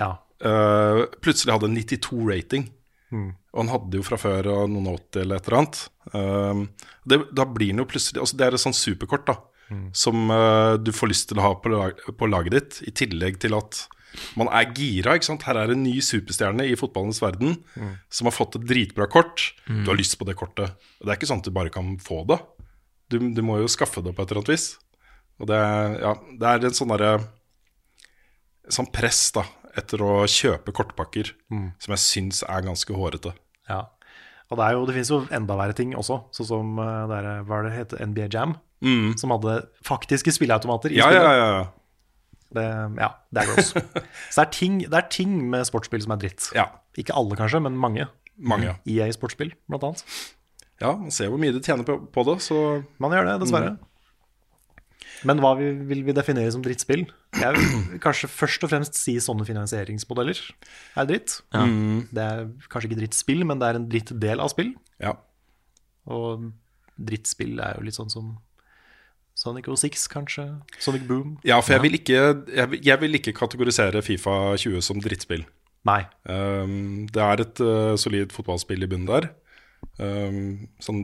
[SPEAKER 3] Ja.
[SPEAKER 2] Eh, Plutselig hadde han 92 rating
[SPEAKER 3] Mm.
[SPEAKER 2] og han hadde jo fra før av noen 80 eller et eller annet. Ehm, det, da blir han jo plutselig altså Det er et sånt superkort da
[SPEAKER 3] Mm.
[SPEAKER 2] som eh, du får lyst til å ha på, lag, på laget ditt, i tillegg til at man er gira. ikke sant? Her er en ny superstjerne i fotballens verden
[SPEAKER 3] Mm.
[SPEAKER 2] som har fått et dritbra kort.
[SPEAKER 3] Mm.
[SPEAKER 2] Du har lyst på det kortet. Og Det er ikke sånn at du bare kan få det. Du, du må jo skaffe det på et eller annet vis. Og det, er- ja, det er en sånn derre Sånn press da etter å kjøpe kortpakker
[SPEAKER 3] Mm.
[SPEAKER 2] som jeg syns er ganske hårete.
[SPEAKER 3] Ja. Og det, er jo, det finnes jo enda verre ting også, sånn som eh, det er, hva er det heter, NBA Jam,
[SPEAKER 2] Mm.
[SPEAKER 3] som hadde faktiske spilleautomater i
[SPEAKER 2] Ja,
[SPEAKER 3] spillet.
[SPEAKER 2] ja, ja, ja.
[SPEAKER 3] Det, ja, det er gross. Så det er, ting, det er ting med sportsspill som er dritt. Ikke alle, kanskje, men mange.
[SPEAKER 2] Mange, ja.
[SPEAKER 3] EA Sportsspill, blant annet.
[SPEAKER 2] Mm. Ja, man ser hvor mye de tjener på, på det, så
[SPEAKER 3] Man gjør det, dessverre.
[SPEAKER 2] Mm.
[SPEAKER 3] Men hva vi, vil vi definere som drittspill? Jeg vil kanskje først og fremst si sånne finansieringsmodeller er dritt.
[SPEAKER 2] Ja.
[SPEAKER 6] Mm.
[SPEAKER 3] Det er kanskje ikke drittspill, men det er en drittdel av spill. Og drittspill er jo litt sånn som Sonic O6, kanskje. Sonic Boom.
[SPEAKER 2] Ja, for jeg vil ikke, jeg, vil- jeg vil ikke kategorisere Fifa 20 som drittspill.
[SPEAKER 3] Nei.
[SPEAKER 2] Um, det er et uh, solid fotballspill i bunnen der. Um, sånn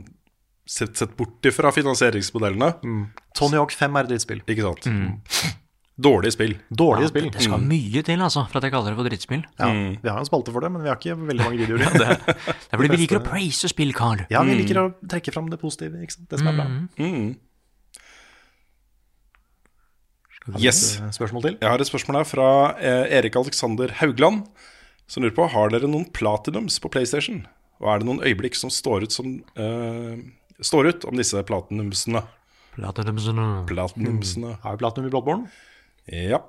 [SPEAKER 2] sett, sett bort ifra finansieringsmodellene.
[SPEAKER 3] Tony Hawk 5 er drittspill.
[SPEAKER 2] Ikke sant. Dårlig spill.
[SPEAKER 6] Mm. Ja,
[SPEAKER 3] Dårlige spill.
[SPEAKER 6] Det skal mye til altså, for at jeg kaller det for drittspill.
[SPEAKER 3] Ja, Vi har en spalte for det, men vi har ikke veldig mange videoer.
[SPEAKER 6] Mm. Ja, det- det er fordi vi
[SPEAKER 3] beste-
[SPEAKER 6] liker å praise spill, Carl.
[SPEAKER 3] Ja, vi
[SPEAKER 6] Mm.
[SPEAKER 3] liker å trekke fram det positive. Ikke sant? Det som er bra.
[SPEAKER 6] Mm.
[SPEAKER 3] Har vi
[SPEAKER 2] Yes.
[SPEAKER 3] et, eh, Spørsmål til?
[SPEAKER 2] Jeg har et spørsmål her fra eh, Erik Alexander Haugland, som lurer på har dere noen platinums på PlayStation. Og er det noen øyeblikk som står ut, som, eh, står ut om disse platinumsene?
[SPEAKER 6] Platinumsene.
[SPEAKER 2] Platinumsene.
[SPEAKER 3] Har vi platinum i Bloodborne?
[SPEAKER 2] Ja.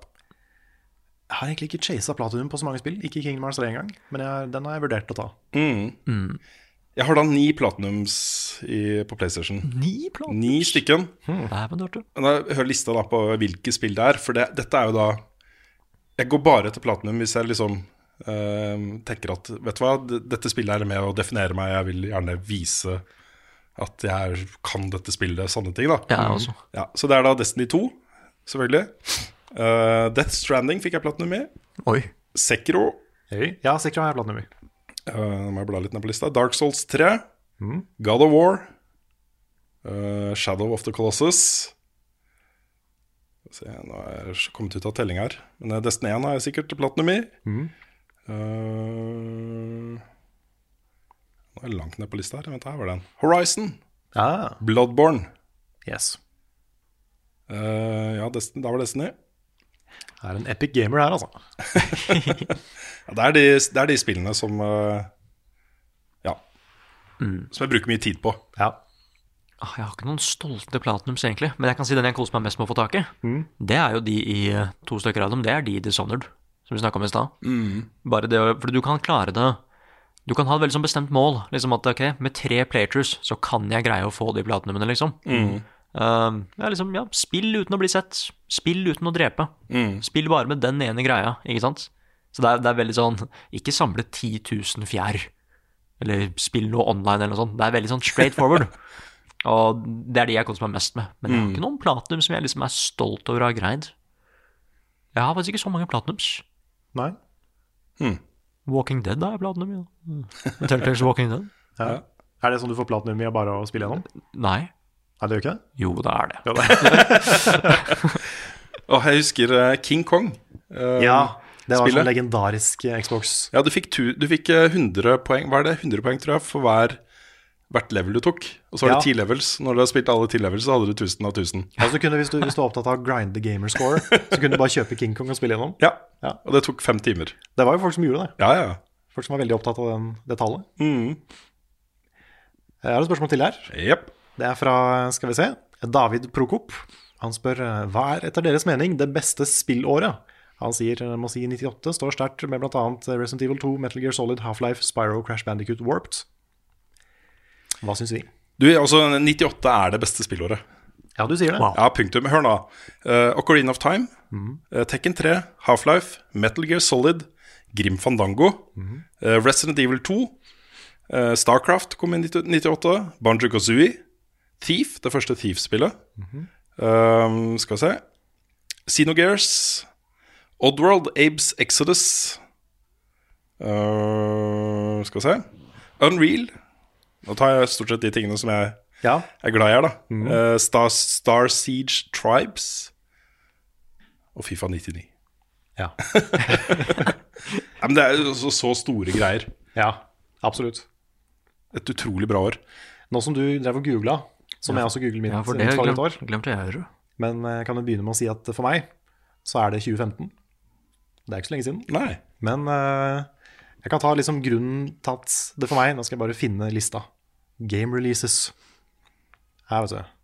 [SPEAKER 3] Jeg har egentlig ikke chasa platinum på så mange spill. Ikke Kingdom Hearts 3 engang, men jeg, den har jeg vurdert å ta.
[SPEAKER 2] Mm. Jeg har da ni platinums i, på PlayStation.
[SPEAKER 1] Mhm.
[SPEAKER 6] Ni platinums?
[SPEAKER 2] Ni stykken.
[SPEAKER 6] Dæven dørte.
[SPEAKER 2] Da, hør lista da på hvilke spill det er, for det, dette er jo da Jeg går bare etter platinum hvis jeg liksom eh, tenker at Vet du hva, d- dette spillet er med å definere meg, jeg vil gjerne vise at jeg kan dette spillet, sånne ting, da. Mm.
[SPEAKER 6] Ja, jeg også.
[SPEAKER 2] Ja, så det er da Destiny 2, selvfølgelig. Eh, Death Stranding fikk jeg platinum i.
[SPEAKER 6] Oi.
[SPEAKER 2] Sekiro.
[SPEAKER 3] Ja, Sekiro har jeg platinum i.
[SPEAKER 2] Eh, Nå må jeg bla litt ned på lista. Dark Souls 3. God of War. eh, Shadow of the Colossus. Skal vi Se, nå er jeg så kommet ut av telling her. Men eh, Destiny 1 har jeg sikkert platinum i. Eh, nå er jeg langt ned på lista her. Vent, her var den. Horizon. Bloodborne. Eh,
[SPEAKER 3] Yes.
[SPEAKER 2] ja, Destiny, da var Destiny.
[SPEAKER 3] Det er en epic gamer her, altså.
[SPEAKER 2] Ja, det, er de, det er de spillene som eh, Ja. Som jeg bruker mye tid på.
[SPEAKER 3] Ja.
[SPEAKER 6] Ah, Jeg har ikke noen stolte platinums, egentlig. Men jeg kan si den jeg koser meg mest med å få tak i.
[SPEAKER 3] Mm.
[SPEAKER 6] Det er jo de i eh, to stykker av dem. Det er de i Dishonored, som vi snakka om i stad.
[SPEAKER 2] Mm.
[SPEAKER 6] Bare det å For du kan klare det Du kan ha et veldig sånn bestemt mål. Liksom at ok, med tre playthroughs så kan jeg greie å få de platinumene, liksom.
[SPEAKER 2] Mm.
[SPEAKER 6] Um, ja, liksom, ja, spill uten å bli sett. Spill uten å drepe.
[SPEAKER 2] Mm.
[SPEAKER 6] Spill bare med den ene greia, ikke sant? Så det er, det er veldig sånn Ikke samle 10 000 fjær, eller spill noe online eller noe sånt. Det er veldig sånn straight forward. Og det er de jeg koser meg mest med. Men jeg har
[SPEAKER 2] Mm.
[SPEAKER 6] ikke noen platinum som jeg liksom er stolt over å ha greid. Jeg har faktisk ikke så mange platinums.
[SPEAKER 3] Nei.
[SPEAKER 2] Hmm.
[SPEAKER 6] Walking Dead har jeg platinum i. da. Mm. Telltales Walking Dead.
[SPEAKER 3] Ja. Er det sånn du får platinum i å bare å spille gjennom?
[SPEAKER 1] Nei.
[SPEAKER 3] Nei, det gjør ikke det?
[SPEAKER 1] Jo, det er det.
[SPEAKER 3] Ja, det.
[SPEAKER 2] Og jeg husker eh, King Kong. eh,
[SPEAKER 3] ja, det var
[SPEAKER 2] spillet.
[SPEAKER 3] sånn legendarisk Xbox.
[SPEAKER 2] Ja, du fikk, tu, du fikk eh, 100 poeng, hva er det? 100 poeng, tror jeg, for hver, hvert level du tok. Og så var det
[SPEAKER 3] Ja.
[SPEAKER 2] 10 levels. Når du hadde spilt alle 10 levels, så hadde du 1000 av 1000.
[SPEAKER 3] Altså, kunne, hvis, du, hvis du var opptatt av å grinde gamer score, så kunne du bare kjøpe King Kong og spille gjennom.
[SPEAKER 2] Ja, og det tok fem timer.
[SPEAKER 3] Det var jo folk som gjorde det.
[SPEAKER 2] Ja, Mm. ja.
[SPEAKER 3] Folk som var veldig opptatt av den, det tallet. Jeg har et spørsmål til her. Det er fra skal vi se, David Prokop. Han spør eh, hva er etter deres mening det beste spillåret? Han sier eh, må si 98 står sterkt med bl.a. Resident Evil 2, Metal Gear Solid, Half-Life, Spyro, Crash Bandicoot, Warped. Hva syns vi?
[SPEAKER 2] Du, altså, 98 er det beste spillåret.
[SPEAKER 3] Ja, du sier det.
[SPEAKER 2] Ja, punktum. Hør nå. Eh, Ocarina of Time, eh, Tekken 3, Half-Life, Metal Gear Solid, Grim Fandango, eh, Resident Evil 2, eh, Starcraft kom i 90 98, Banjo Kazooie, Thief, det første Thief-spillet. Um, skal vi se Xenogears, Oddworld, Abes Exodus uh, Skal vi se Unreal. Nå tar jeg stort sett de tingene som jeg er glad i her, da.
[SPEAKER 3] Mm.
[SPEAKER 2] Uh, Star, Star Siege Tribes og Fifa 99.
[SPEAKER 3] Ja.
[SPEAKER 2] Ja, men det er jo så, så store greier.
[SPEAKER 3] Ja, absolutt.
[SPEAKER 2] Et utrolig bra år.
[SPEAKER 3] Nå som du drev og googla, som
[SPEAKER 1] Ja.
[SPEAKER 3] jeg også googler mitt,
[SPEAKER 1] Ja, for det
[SPEAKER 3] mitt
[SPEAKER 1] glem-
[SPEAKER 3] favorittår Men eh, jeg kan jo begynne med å si at for meg så er det 2015. Det er ikke så lenge siden.
[SPEAKER 2] Nei.
[SPEAKER 3] Men eh, jeg kan ta liksom grunnen til at det for meg Nå skal jeg bare finne lista. Game releases. Her, vet du.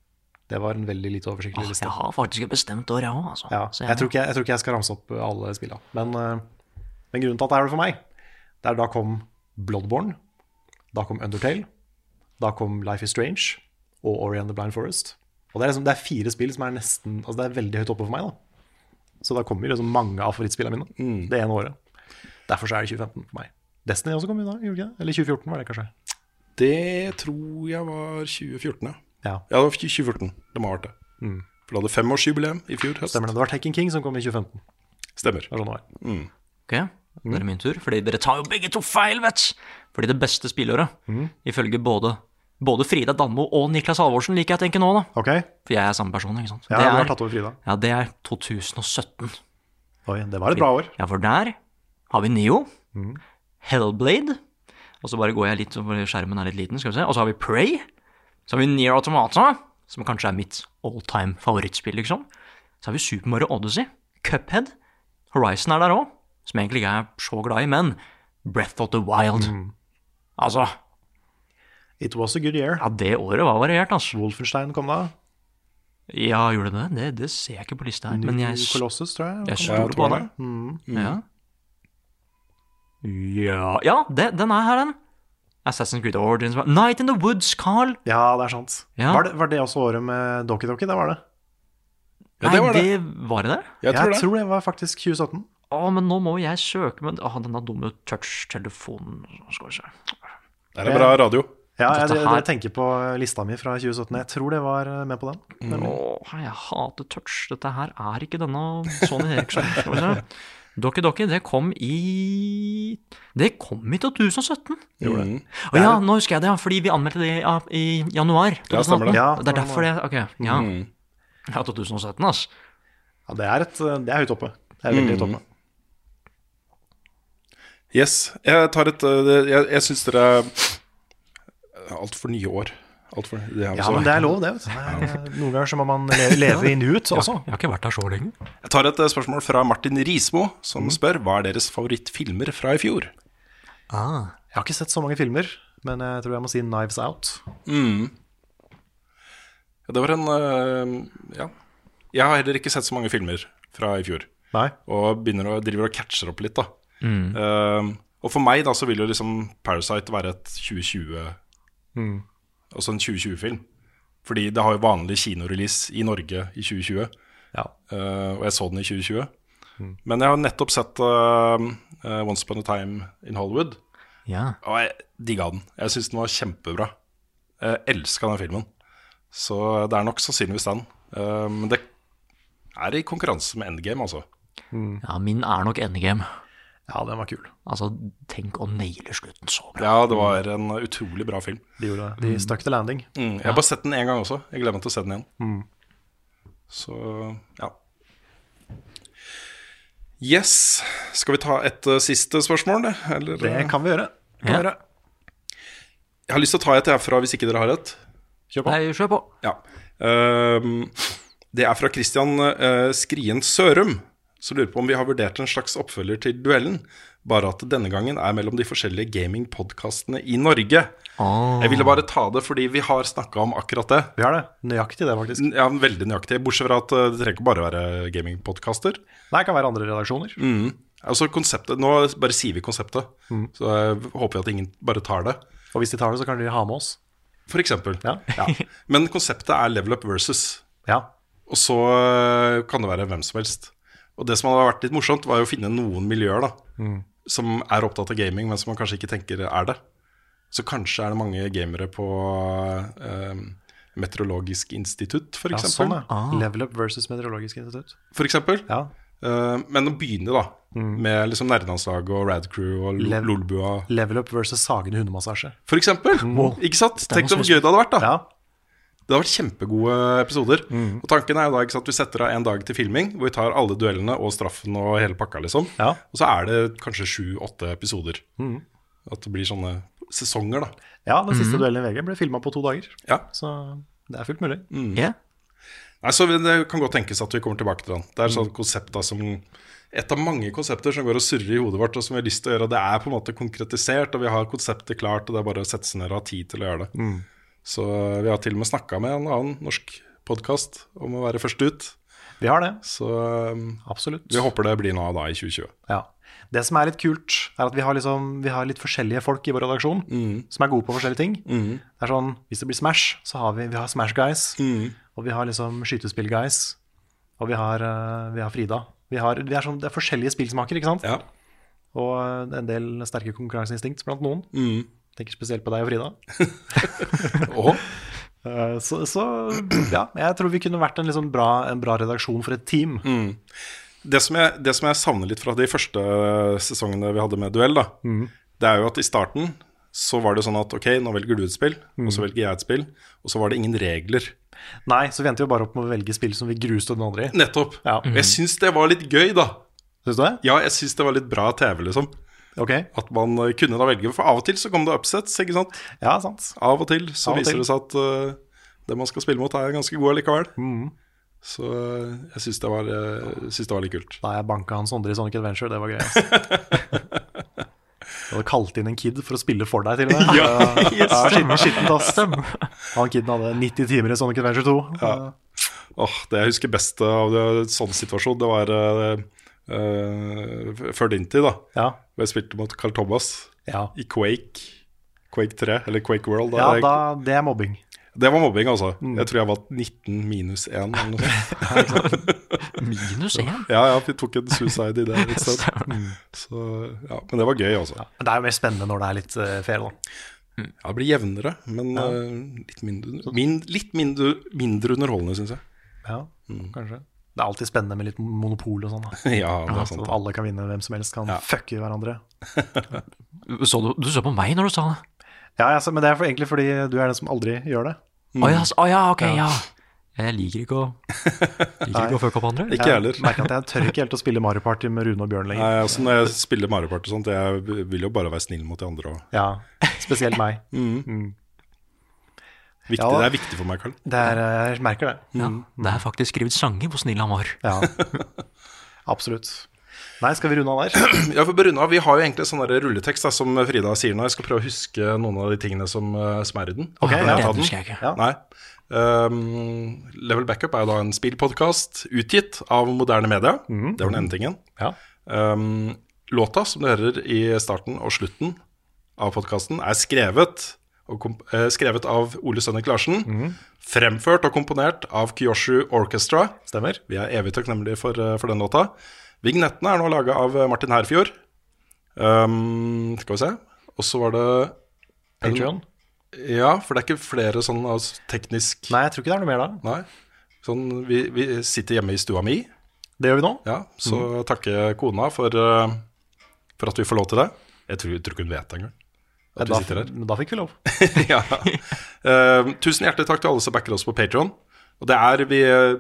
[SPEAKER 3] Det var en veldig lite oversiktlig
[SPEAKER 1] Åh,
[SPEAKER 3] liste.
[SPEAKER 1] Altså, jeg har faktisk et bestemt år, jeg òg, altså.
[SPEAKER 3] Ja,
[SPEAKER 1] Så
[SPEAKER 3] jeg, tror ikke jeg, tror ikke jeg skal ramse opp alle spillene. Men, eh, men grunnen til at det er det for meg, det er da kom Bloodborne, da kom Undertale, da kom Life is Strange og Ori and the Blind Forest. Og det er, liksom, det er fire spill som er nesten Altså det er veldig høyt oppe for meg. da Så da kommer jo liksom mange av favorittspillene mine det ene året. Derfor så er det 2015 for meg. Destiny også kom jo da, gjorde det ikke det? Eller 2014 var det kanskje.
[SPEAKER 2] Det tror jeg var 2014, ja.
[SPEAKER 3] Ja.
[SPEAKER 2] det var 2014. Det må ha vært det.
[SPEAKER 3] Mm.
[SPEAKER 2] For du hadde femårsjubileum i fjor høst.
[SPEAKER 3] Stemmer det. Det var Taken King som kom i 2015.
[SPEAKER 2] Stemmer.
[SPEAKER 3] Det var sånn det var.
[SPEAKER 2] Mm.
[SPEAKER 1] Ok, da er det min tur. Fordi dere tar jo begge to feil, vet du. Fordi det beste spillåret,
[SPEAKER 3] Mhm.
[SPEAKER 1] ifølge både, både Frida Danmo og Niklas Halvorsen, liker jeg å tenke nå, da. For jeg er samme person, ikke sant.
[SPEAKER 3] Ja,
[SPEAKER 1] Det
[SPEAKER 3] du har
[SPEAKER 1] er-
[SPEAKER 3] tatt over Frida.
[SPEAKER 1] Ja, det er 2017.
[SPEAKER 3] Oi, det var et bra år.
[SPEAKER 1] Ja, for der har vi Neo,
[SPEAKER 3] Mhm.
[SPEAKER 1] Hellblade, og så bare går jeg litt over skjermen er litt liten, skal vi se. Og så har vi Prey, så har vi Nier Automata, som kanskje er mitt all-time favorittspill, liksom. Så har vi Super Mario Odyssey, Cuphead, Horizon er der òg, som jeg egentlig ikke er så glad i, men Breath of the Wild. Altså
[SPEAKER 3] It was a good year.
[SPEAKER 1] Ja, det året var variert, altså.
[SPEAKER 3] Wolfenstein kom da.
[SPEAKER 1] Ja, gjorde det det? Det, det ser jeg ikke på lista her. Men
[SPEAKER 3] New
[SPEAKER 1] jeg, s-
[SPEAKER 3] Colossus, tror jeg.
[SPEAKER 1] jeg
[SPEAKER 3] kom
[SPEAKER 1] stoler
[SPEAKER 3] da.
[SPEAKER 1] på det.
[SPEAKER 3] Mm.
[SPEAKER 1] Ja. Ja, ja det, den er her, den. Assassin's Creed Origins Night in the Woods, Carl!
[SPEAKER 3] Ja, det er sant.
[SPEAKER 1] Ja.
[SPEAKER 3] Var, det, var det også året med Doki Doki? Det var det.
[SPEAKER 1] Ja, det var Nei, det. var det det?
[SPEAKER 3] Jeg tror det. var faktisk 2017.
[SPEAKER 1] Å, men nå må jeg søke med Å, denne dumme touch-telefonen Skal vi se.
[SPEAKER 2] Det er bra radio.
[SPEAKER 3] Ja, jeg,
[SPEAKER 1] Dette
[SPEAKER 3] jeg,
[SPEAKER 1] her-
[SPEAKER 3] jeg tenker på lista mi fra 2017. Jeg tror det var eh, med på den.
[SPEAKER 2] Mm.
[SPEAKER 1] Å, jeg hater touch. Dette her er ikke denne Sony Eriksson. Skal vi se. Doki Doki, det kom i Det kom i 2017.
[SPEAKER 3] Gjorde det.
[SPEAKER 1] Å ja, nå husker jeg det, ja, fordi vi anmeldte det ja, i januar.
[SPEAKER 3] Ja, stemmer det.
[SPEAKER 1] 2018.
[SPEAKER 3] Ja,
[SPEAKER 1] det er derfor det Ok, ja.
[SPEAKER 3] Mm.
[SPEAKER 1] Ja, 2017, altså.
[SPEAKER 3] Ja, det er, et, eh, det er høyt oppe. Det er veldig høyt
[SPEAKER 2] Mm.
[SPEAKER 3] oppe.
[SPEAKER 2] Yes. Jeg tar et øh, det- Jeg, jeg syns dere er altfor nye år. Alt for, det
[SPEAKER 3] Ja, men det er lov, det. Vet du. Det er- eh, Noen ganger så må man le leve i nuet også.
[SPEAKER 1] Jeg har ikke vært her så lenge.
[SPEAKER 2] Jeg tar et øh, spørsmål fra Martin Rismo, som
[SPEAKER 1] Mm.
[SPEAKER 2] spør hva er deres favorittfilmer fra i fjor.
[SPEAKER 6] Ah,
[SPEAKER 3] Jeg har ikke sett så mange filmer, men eh, jeg tror jeg må si 'Knives Out'.
[SPEAKER 2] Mm. Ja, det var en øh, Ja. Jeg har heller ikke sett så mange filmer fra i fjor.
[SPEAKER 3] Nei.
[SPEAKER 2] Og begynner å, driver og catcher opp litt, da.
[SPEAKER 1] Mm.
[SPEAKER 2] Ehm, og for meg da så vil jo liksom Parasite være et 2020
[SPEAKER 3] Mm.
[SPEAKER 2] Altså en 2020-film. Fordi det har jo vanlig kinorelease i Norge i 2020. Eh, og jeg så den i 2020.
[SPEAKER 1] Mm.
[SPEAKER 2] Men jeg har nettopp sett eh, eh, Once Upon a Time in Hollywood.
[SPEAKER 1] Ja.
[SPEAKER 2] Og jeg digga den. Jeg syns den var kjempebra. Jeg elska den filmen. Så det er nok sannsynligvis den. Eh, Men det er i konkurranse med Endgame, altså.
[SPEAKER 1] Ja, min er nok endegame.
[SPEAKER 3] Ja, den var kul.
[SPEAKER 6] Altså, tenk å naile slutten så bra.
[SPEAKER 2] Ja, det var en utrolig bra film.
[SPEAKER 3] De gjorde det. De
[SPEAKER 2] Mm.
[SPEAKER 3] stuck the landing.
[SPEAKER 2] Mm, jeg
[SPEAKER 3] Ja.
[SPEAKER 2] har bare sett den én gang også. Jeg gleder meg til å se den igjen.
[SPEAKER 3] Mm.
[SPEAKER 2] Så ja. Yes. Skal vi ta et eh, siste spørsmål, eller?
[SPEAKER 3] Det kan vi gjøre. Kan vi gjøre.
[SPEAKER 2] Jeg har lyst til å ta et herfra hvis ikke dere har et. Kjør på.
[SPEAKER 6] Nei, kjør på.
[SPEAKER 2] Ja. Ehm, det er fra Christian eh, Skrien Sørum, som lurer på om vi har vurdert en slags oppfølger til duellen, bare at det denne gangen er mellom de forskjellige gamingpodkastene i Norge. Jeg ville bare ta det fordi vi har snakka om akkurat det.
[SPEAKER 3] Vi har det. Nøyaktig det, faktisk.
[SPEAKER 2] Ja, veldig nøyaktig. Bortsett fra at eh, det trenger ikke bare være gamingpodkaster.
[SPEAKER 3] Nei, det kan være andre redaksjoner.
[SPEAKER 2] Mm. Altså konseptet, Nå bare sier vi konseptet,
[SPEAKER 3] Mm.
[SPEAKER 2] så eh, håper jeg at ingen bare tar det.
[SPEAKER 3] Og hvis de tar det, så kan de ha med oss.
[SPEAKER 2] For eksempel.
[SPEAKER 3] Ja.
[SPEAKER 2] Men konseptet er level up versus. Og så øh, kan det være hvem som helst. Og det som hadde vært litt morsomt, var jo å finne noen miljøer da,
[SPEAKER 3] Mm.
[SPEAKER 2] som er opptatt av gaming, men som man kanskje ikke tenker er det. Så kanskje er det mange gamere på øh, Meteorologisk institutt, for
[SPEAKER 3] Ja,
[SPEAKER 2] eksempel.
[SPEAKER 3] sånn, ja. Level Up versus Meteorologisk institutt.
[SPEAKER 2] For eksempel. Eh, men å begynne, da,
[SPEAKER 3] Mm.
[SPEAKER 2] med liksom nerdelandslaget og Rad Crew og Lo-
[SPEAKER 3] Lev-
[SPEAKER 2] Lolbua.
[SPEAKER 3] Level Up versus Sagene hundemassasje.
[SPEAKER 2] For eksempel. Ikke sant? Tenk så gøy det hadde vært, da. Det hadde vært kjempegode episoder.
[SPEAKER 3] Mm.
[SPEAKER 2] Og tanken er jo da ikke sant, vi setter av en dag til filming, hvor vi tar alle duellene og straffen og hele pakka, liksom. Og så er det kanskje sju-åtte episoder.
[SPEAKER 3] Mm.
[SPEAKER 2] At det blir sånne sesonger, da.
[SPEAKER 3] Ja, den siste
[SPEAKER 2] Mhm.
[SPEAKER 3] duellen i VG ble filma på to dager.
[SPEAKER 2] Ja. Mm.
[SPEAKER 3] Så det er fullt mulig.
[SPEAKER 2] Nei, så Det kan godt tenkes at vi kommer tilbake til den. Det
[SPEAKER 3] Mm.
[SPEAKER 2] er et sånt konsept da som et av mange konsepter som går og surrer i hodet vårt, og som vi har lyst til å gjøre. Det er på en måte konkretisert, og vi har konseptet klart, og det er bare å sette seg ned og ha tid til å gjøre det.
[SPEAKER 3] Mm.
[SPEAKER 2] Så eh, vi har til og med snakka med en annen norsk podkast om å være først ut.
[SPEAKER 3] Vi har det.
[SPEAKER 2] Så um,
[SPEAKER 3] Absolutt.
[SPEAKER 2] vi håper det blir noe av da i 2020.
[SPEAKER 3] Ja. Det som er litt kult, er at vi har, liksom, vi har litt forskjellige folk i vår redaksjon
[SPEAKER 2] Mm.
[SPEAKER 3] som er gode på forskjellige ting. Det er sånn, Hvis det blir Smash, så har vi, vi har Smash Guys.
[SPEAKER 2] Mm.
[SPEAKER 3] Og vi har liksom Skytespill Guys. Og vi har, eh, vi har Frida. Vi har, vi er sånn, det er forskjellige spillsmaker, ikke sant? Og eh, en del sterke konkurranseinstinkt blant noen. Tenker spesielt på deg og Frida. Eh, Så, så ja, jeg tror vi kunne vært en, liksom bra, en bra redaksjon for et team.
[SPEAKER 2] Mm. Det som, jeg, det som jeg savner litt fra de første sesongene vi hadde med duell, da,
[SPEAKER 3] Mhm.
[SPEAKER 2] det er jo at i starten så var det sånn at ok, nå velger du et spill, og så
[SPEAKER 3] Mhm.
[SPEAKER 2] velger jeg et spill, og så var det ingen regler.
[SPEAKER 3] Nei, så vi endte jo bare opp med å velge spill som vi gruste den andre i.
[SPEAKER 2] Nettopp.
[SPEAKER 3] Ja.
[SPEAKER 2] Og Jeg syns det var litt gøy, da.
[SPEAKER 3] Syns du det?
[SPEAKER 2] Ja, jeg syns det var litt bra TV, liksom. At man eh, kunne da velge. For av og til så kom det upsets, ikke sant?
[SPEAKER 3] Ja, sant.
[SPEAKER 2] Av og til så
[SPEAKER 3] Av og
[SPEAKER 2] viser
[SPEAKER 3] til.
[SPEAKER 2] det seg at eh, det man skal spille mot, er ganske god allikevel.
[SPEAKER 3] Mm.
[SPEAKER 2] Så eh, jeg syns det, var, eh, syns det var litt kult.
[SPEAKER 3] Da jeg banka han Sondre i Sonic Adventure, det var gøy. Altså. Du hadde kalt inn en kid for å spille for deg, til og med.
[SPEAKER 2] Ja,
[SPEAKER 3] Det er
[SPEAKER 2] stemmer.
[SPEAKER 3] skittent, skittent, ass. Han kiden hadde 90 timer i Sonic Adventure 2.
[SPEAKER 2] Ja. Åh, det jeg husker best av det, sånn situasjon, det var eh, eh, f- før din tid, da.
[SPEAKER 3] Ja.
[SPEAKER 2] Hvor jeg spilte mot Carl Thomas
[SPEAKER 3] Ja.
[SPEAKER 2] i Quake. Quake 3, eller Quake World.
[SPEAKER 3] Ja,
[SPEAKER 2] er jeg-
[SPEAKER 3] da, det er mobbing.
[SPEAKER 2] Det var mobbing, altså.
[SPEAKER 3] Mm.
[SPEAKER 2] Jeg tror jeg var 19 minus 1 eller noe sånt.
[SPEAKER 6] Minus 1?
[SPEAKER 2] Ja, ja, vi tok en suicide i det et sted. Så, ja, men det var gøy, altså.
[SPEAKER 3] Men Det er jo mer spennende når det er litt eh, fair, da.
[SPEAKER 2] Ja, det blir jevnere, men
[SPEAKER 3] Ja.
[SPEAKER 2] eh, litt, mindre, min, litt mindre, mindre underholdende, syns jeg.
[SPEAKER 3] Ja,
[SPEAKER 2] Mm.
[SPEAKER 3] kanskje. Det er alltid spennende med litt monopol og sånn. da.
[SPEAKER 2] Ja, det er sant,
[SPEAKER 3] Sånn at
[SPEAKER 2] ja.
[SPEAKER 3] alle kan vinne, hvem som helst kan fucke hverandre.
[SPEAKER 6] Så du, du så på meg når du sa det?
[SPEAKER 3] Ja, jeg sa- men det er for, egentlig fordi du er den som aldri gjør det.
[SPEAKER 6] Å ja, s- å ja, ok, ja. Jeg liker ikke å, liker ikke å fucke opp andre.
[SPEAKER 3] Jeg merker at jeg tør ikke helt å spille Mario Party med Rune og Bjørn lenger.
[SPEAKER 2] Nei, altså Når jeg spiller Mario Party, og sånt, jeg vil jo bare være snill mot de andre. Og
[SPEAKER 3] Ja, spesielt meg. Mm.
[SPEAKER 2] viktig,
[SPEAKER 3] Ja.
[SPEAKER 2] Det er viktig for meg, Karl.
[SPEAKER 3] Det er, eh, jeg merker det.
[SPEAKER 6] Ja, det er faktisk skrevet sanger hvor snill han var.
[SPEAKER 3] Ja. Absolutt. Nei, skal vi runde av der?
[SPEAKER 2] Ja, for Bruna, Vi har jo egentlig sånn der rulletekst da, som Frida sier nå. Jeg skal prøve å huske noen av de tingene som, eh, som er i den.
[SPEAKER 3] Ok,
[SPEAKER 2] Kan jeg
[SPEAKER 3] ja.
[SPEAKER 2] ta
[SPEAKER 3] Den
[SPEAKER 2] den?
[SPEAKER 3] husker jeg ikke. Ja.
[SPEAKER 2] Nei. Um, Level Backup er jo da en spillpodkast utgitt av moderne media.
[SPEAKER 3] Mhm.
[SPEAKER 2] Det var den ene tingen. Um, låta som du hører i starten og slutten av podkasten, er skrevet, og komp eh, skrevet av Ole Sønnik Larsen.
[SPEAKER 3] Mhm.
[SPEAKER 2] Fremført og komponert av Kyoshu Orchestra.
[SPEAKER 3] Stemmer.
[SPEAKER 2] Vi er evig takknemlige for, eh, for den låta. Vignettene er nå laga av eh, Martin Herfjord. Um, skal vi se. Og så var det
[SPEAKER 3] Patreon?
[SPEAKER 2] Ja, for det er ikke flere sånn altså, teknisk
[SPEAKER 3] Nei, jeg tror ikke det er noe mer da.
[SPEAKER 2] Nei. Sånn, vi, vi sitter hjemme i stua mi.
[SPEAKER 3] Det gjør vi nå.
[SPEAKER 2] Ja, så takke kona for eh, for at vi får lov til det. Jeg tror, jeg tror ikke hun vet det engang.
[SPEAKER 3] Ja,
[SPEAKER 2] At
[SPEAKER 3] da-
[SPEAKER 2] vi sitter her.
[SPEAKER 3] Men da fikk vi lov.
[SPEAKER 2] ja. Eh, tusen hjertelig takk til alle som backer oss på Patreon. Og det er vi eh,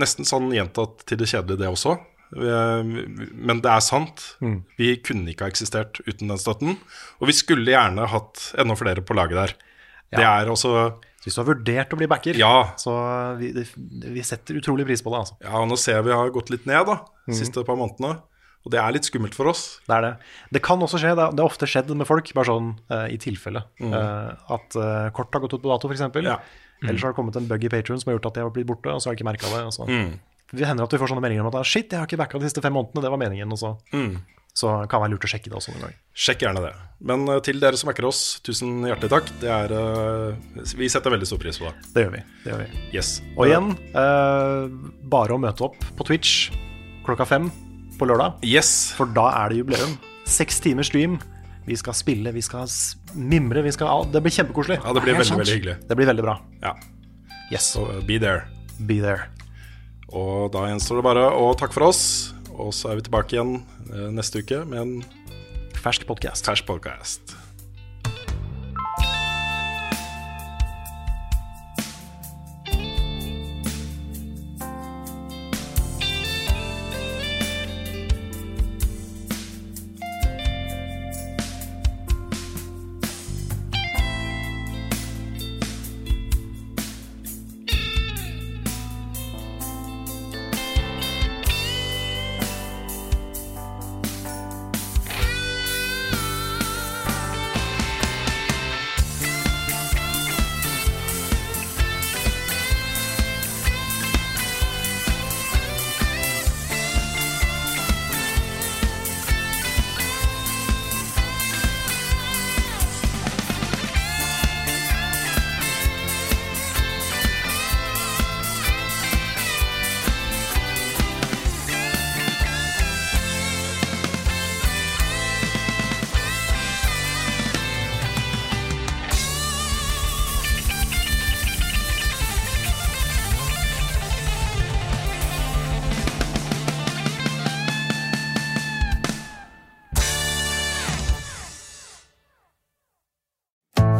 [SPEAKER 2] nesten sånn gjentatt til det kjedelige, det også. Eh, Men det er sant.
[SPEAKER 3] Mm.
[SPEAKER 2] Vi kunne ikke ha eksistert uten den støtten. Og vi skulle gjerne hatt enda flere på laget der. Det er også
[SPEAKER 3] Hvis du har vurdert å bli backer,
[SPEAKER 2] ja.
[SPEAKER 3] så vi, det, vi setter utrolig pris på det. altså.
[SPEAKER 2] Ja, og nå ser jeg vi har gått litt ned da, de
[SPEAKER 3] Mhm.
[SPEAKER 2] siste par månedene. Og det er litt skummelt for oss.
[SPEAKER 3] Det er det. Det kan også skje, det er- det har ofte skjedd med folk, bare sånn eh, i tilfelle.
[SPEAKER 2] Mm.
[SPEAKER 3] Eh, at eh, kort har gått ut på dato, f.eks. eksempel
[SPEAKER 2] Mm.
[SPEAKER 3] Eller så har det kommet en bug i Patreon som har gjort at jeg har blitt borte, og så har jeg ikke merka det. Og så.
[SPEAKER 2] Mm.
[SPEAKER 3] Det hender at vi får sånne meldinger om at ah, shit, jeg har ikke backa de siste fem månedene, det var meningen. Og så,
[SPEAKER 2] Mm.
[SPEAKER 3] så kan det være lurt å sjekke det også noen gang.
[SPEAKER 2] Sjekk gjerne det. Men eh, til dere som backer oss, tusen hjertelig takk. Det er, eh, vi setter veldig stor pris på det.
[SPEAKER 3] Det gjør vi. Det gjør vi.
[SPEAKER 2] Yes.
[SPEAKER 3] Og igjen, eh, bare å møte opp på Twitch klokka fem på lørdag. For da er det jubileum. Seks timer stream. Vi skal spille, vi skal s- mimre. Vi skal, ja, det blir kjempekoselig.
[SPEAKER 2] Ja, det blir veldig, veldig hyggelig.
[SPEAKER 3] Det blir veldig bra.
[SPEAKER 2] Ja.
[SPEAKER 3] Yes.
[SPEAKER 2] Så eh, be there.
[SPEAKER 3] Be there.
[SPEAKER 2] Og da gjenstår det bare å takke for oss. Og så er vi tilbake igjen eh, neste uke med en
[SPEAKER 3] fersk podkast.
[SPEAKER 2] Fersk podcast.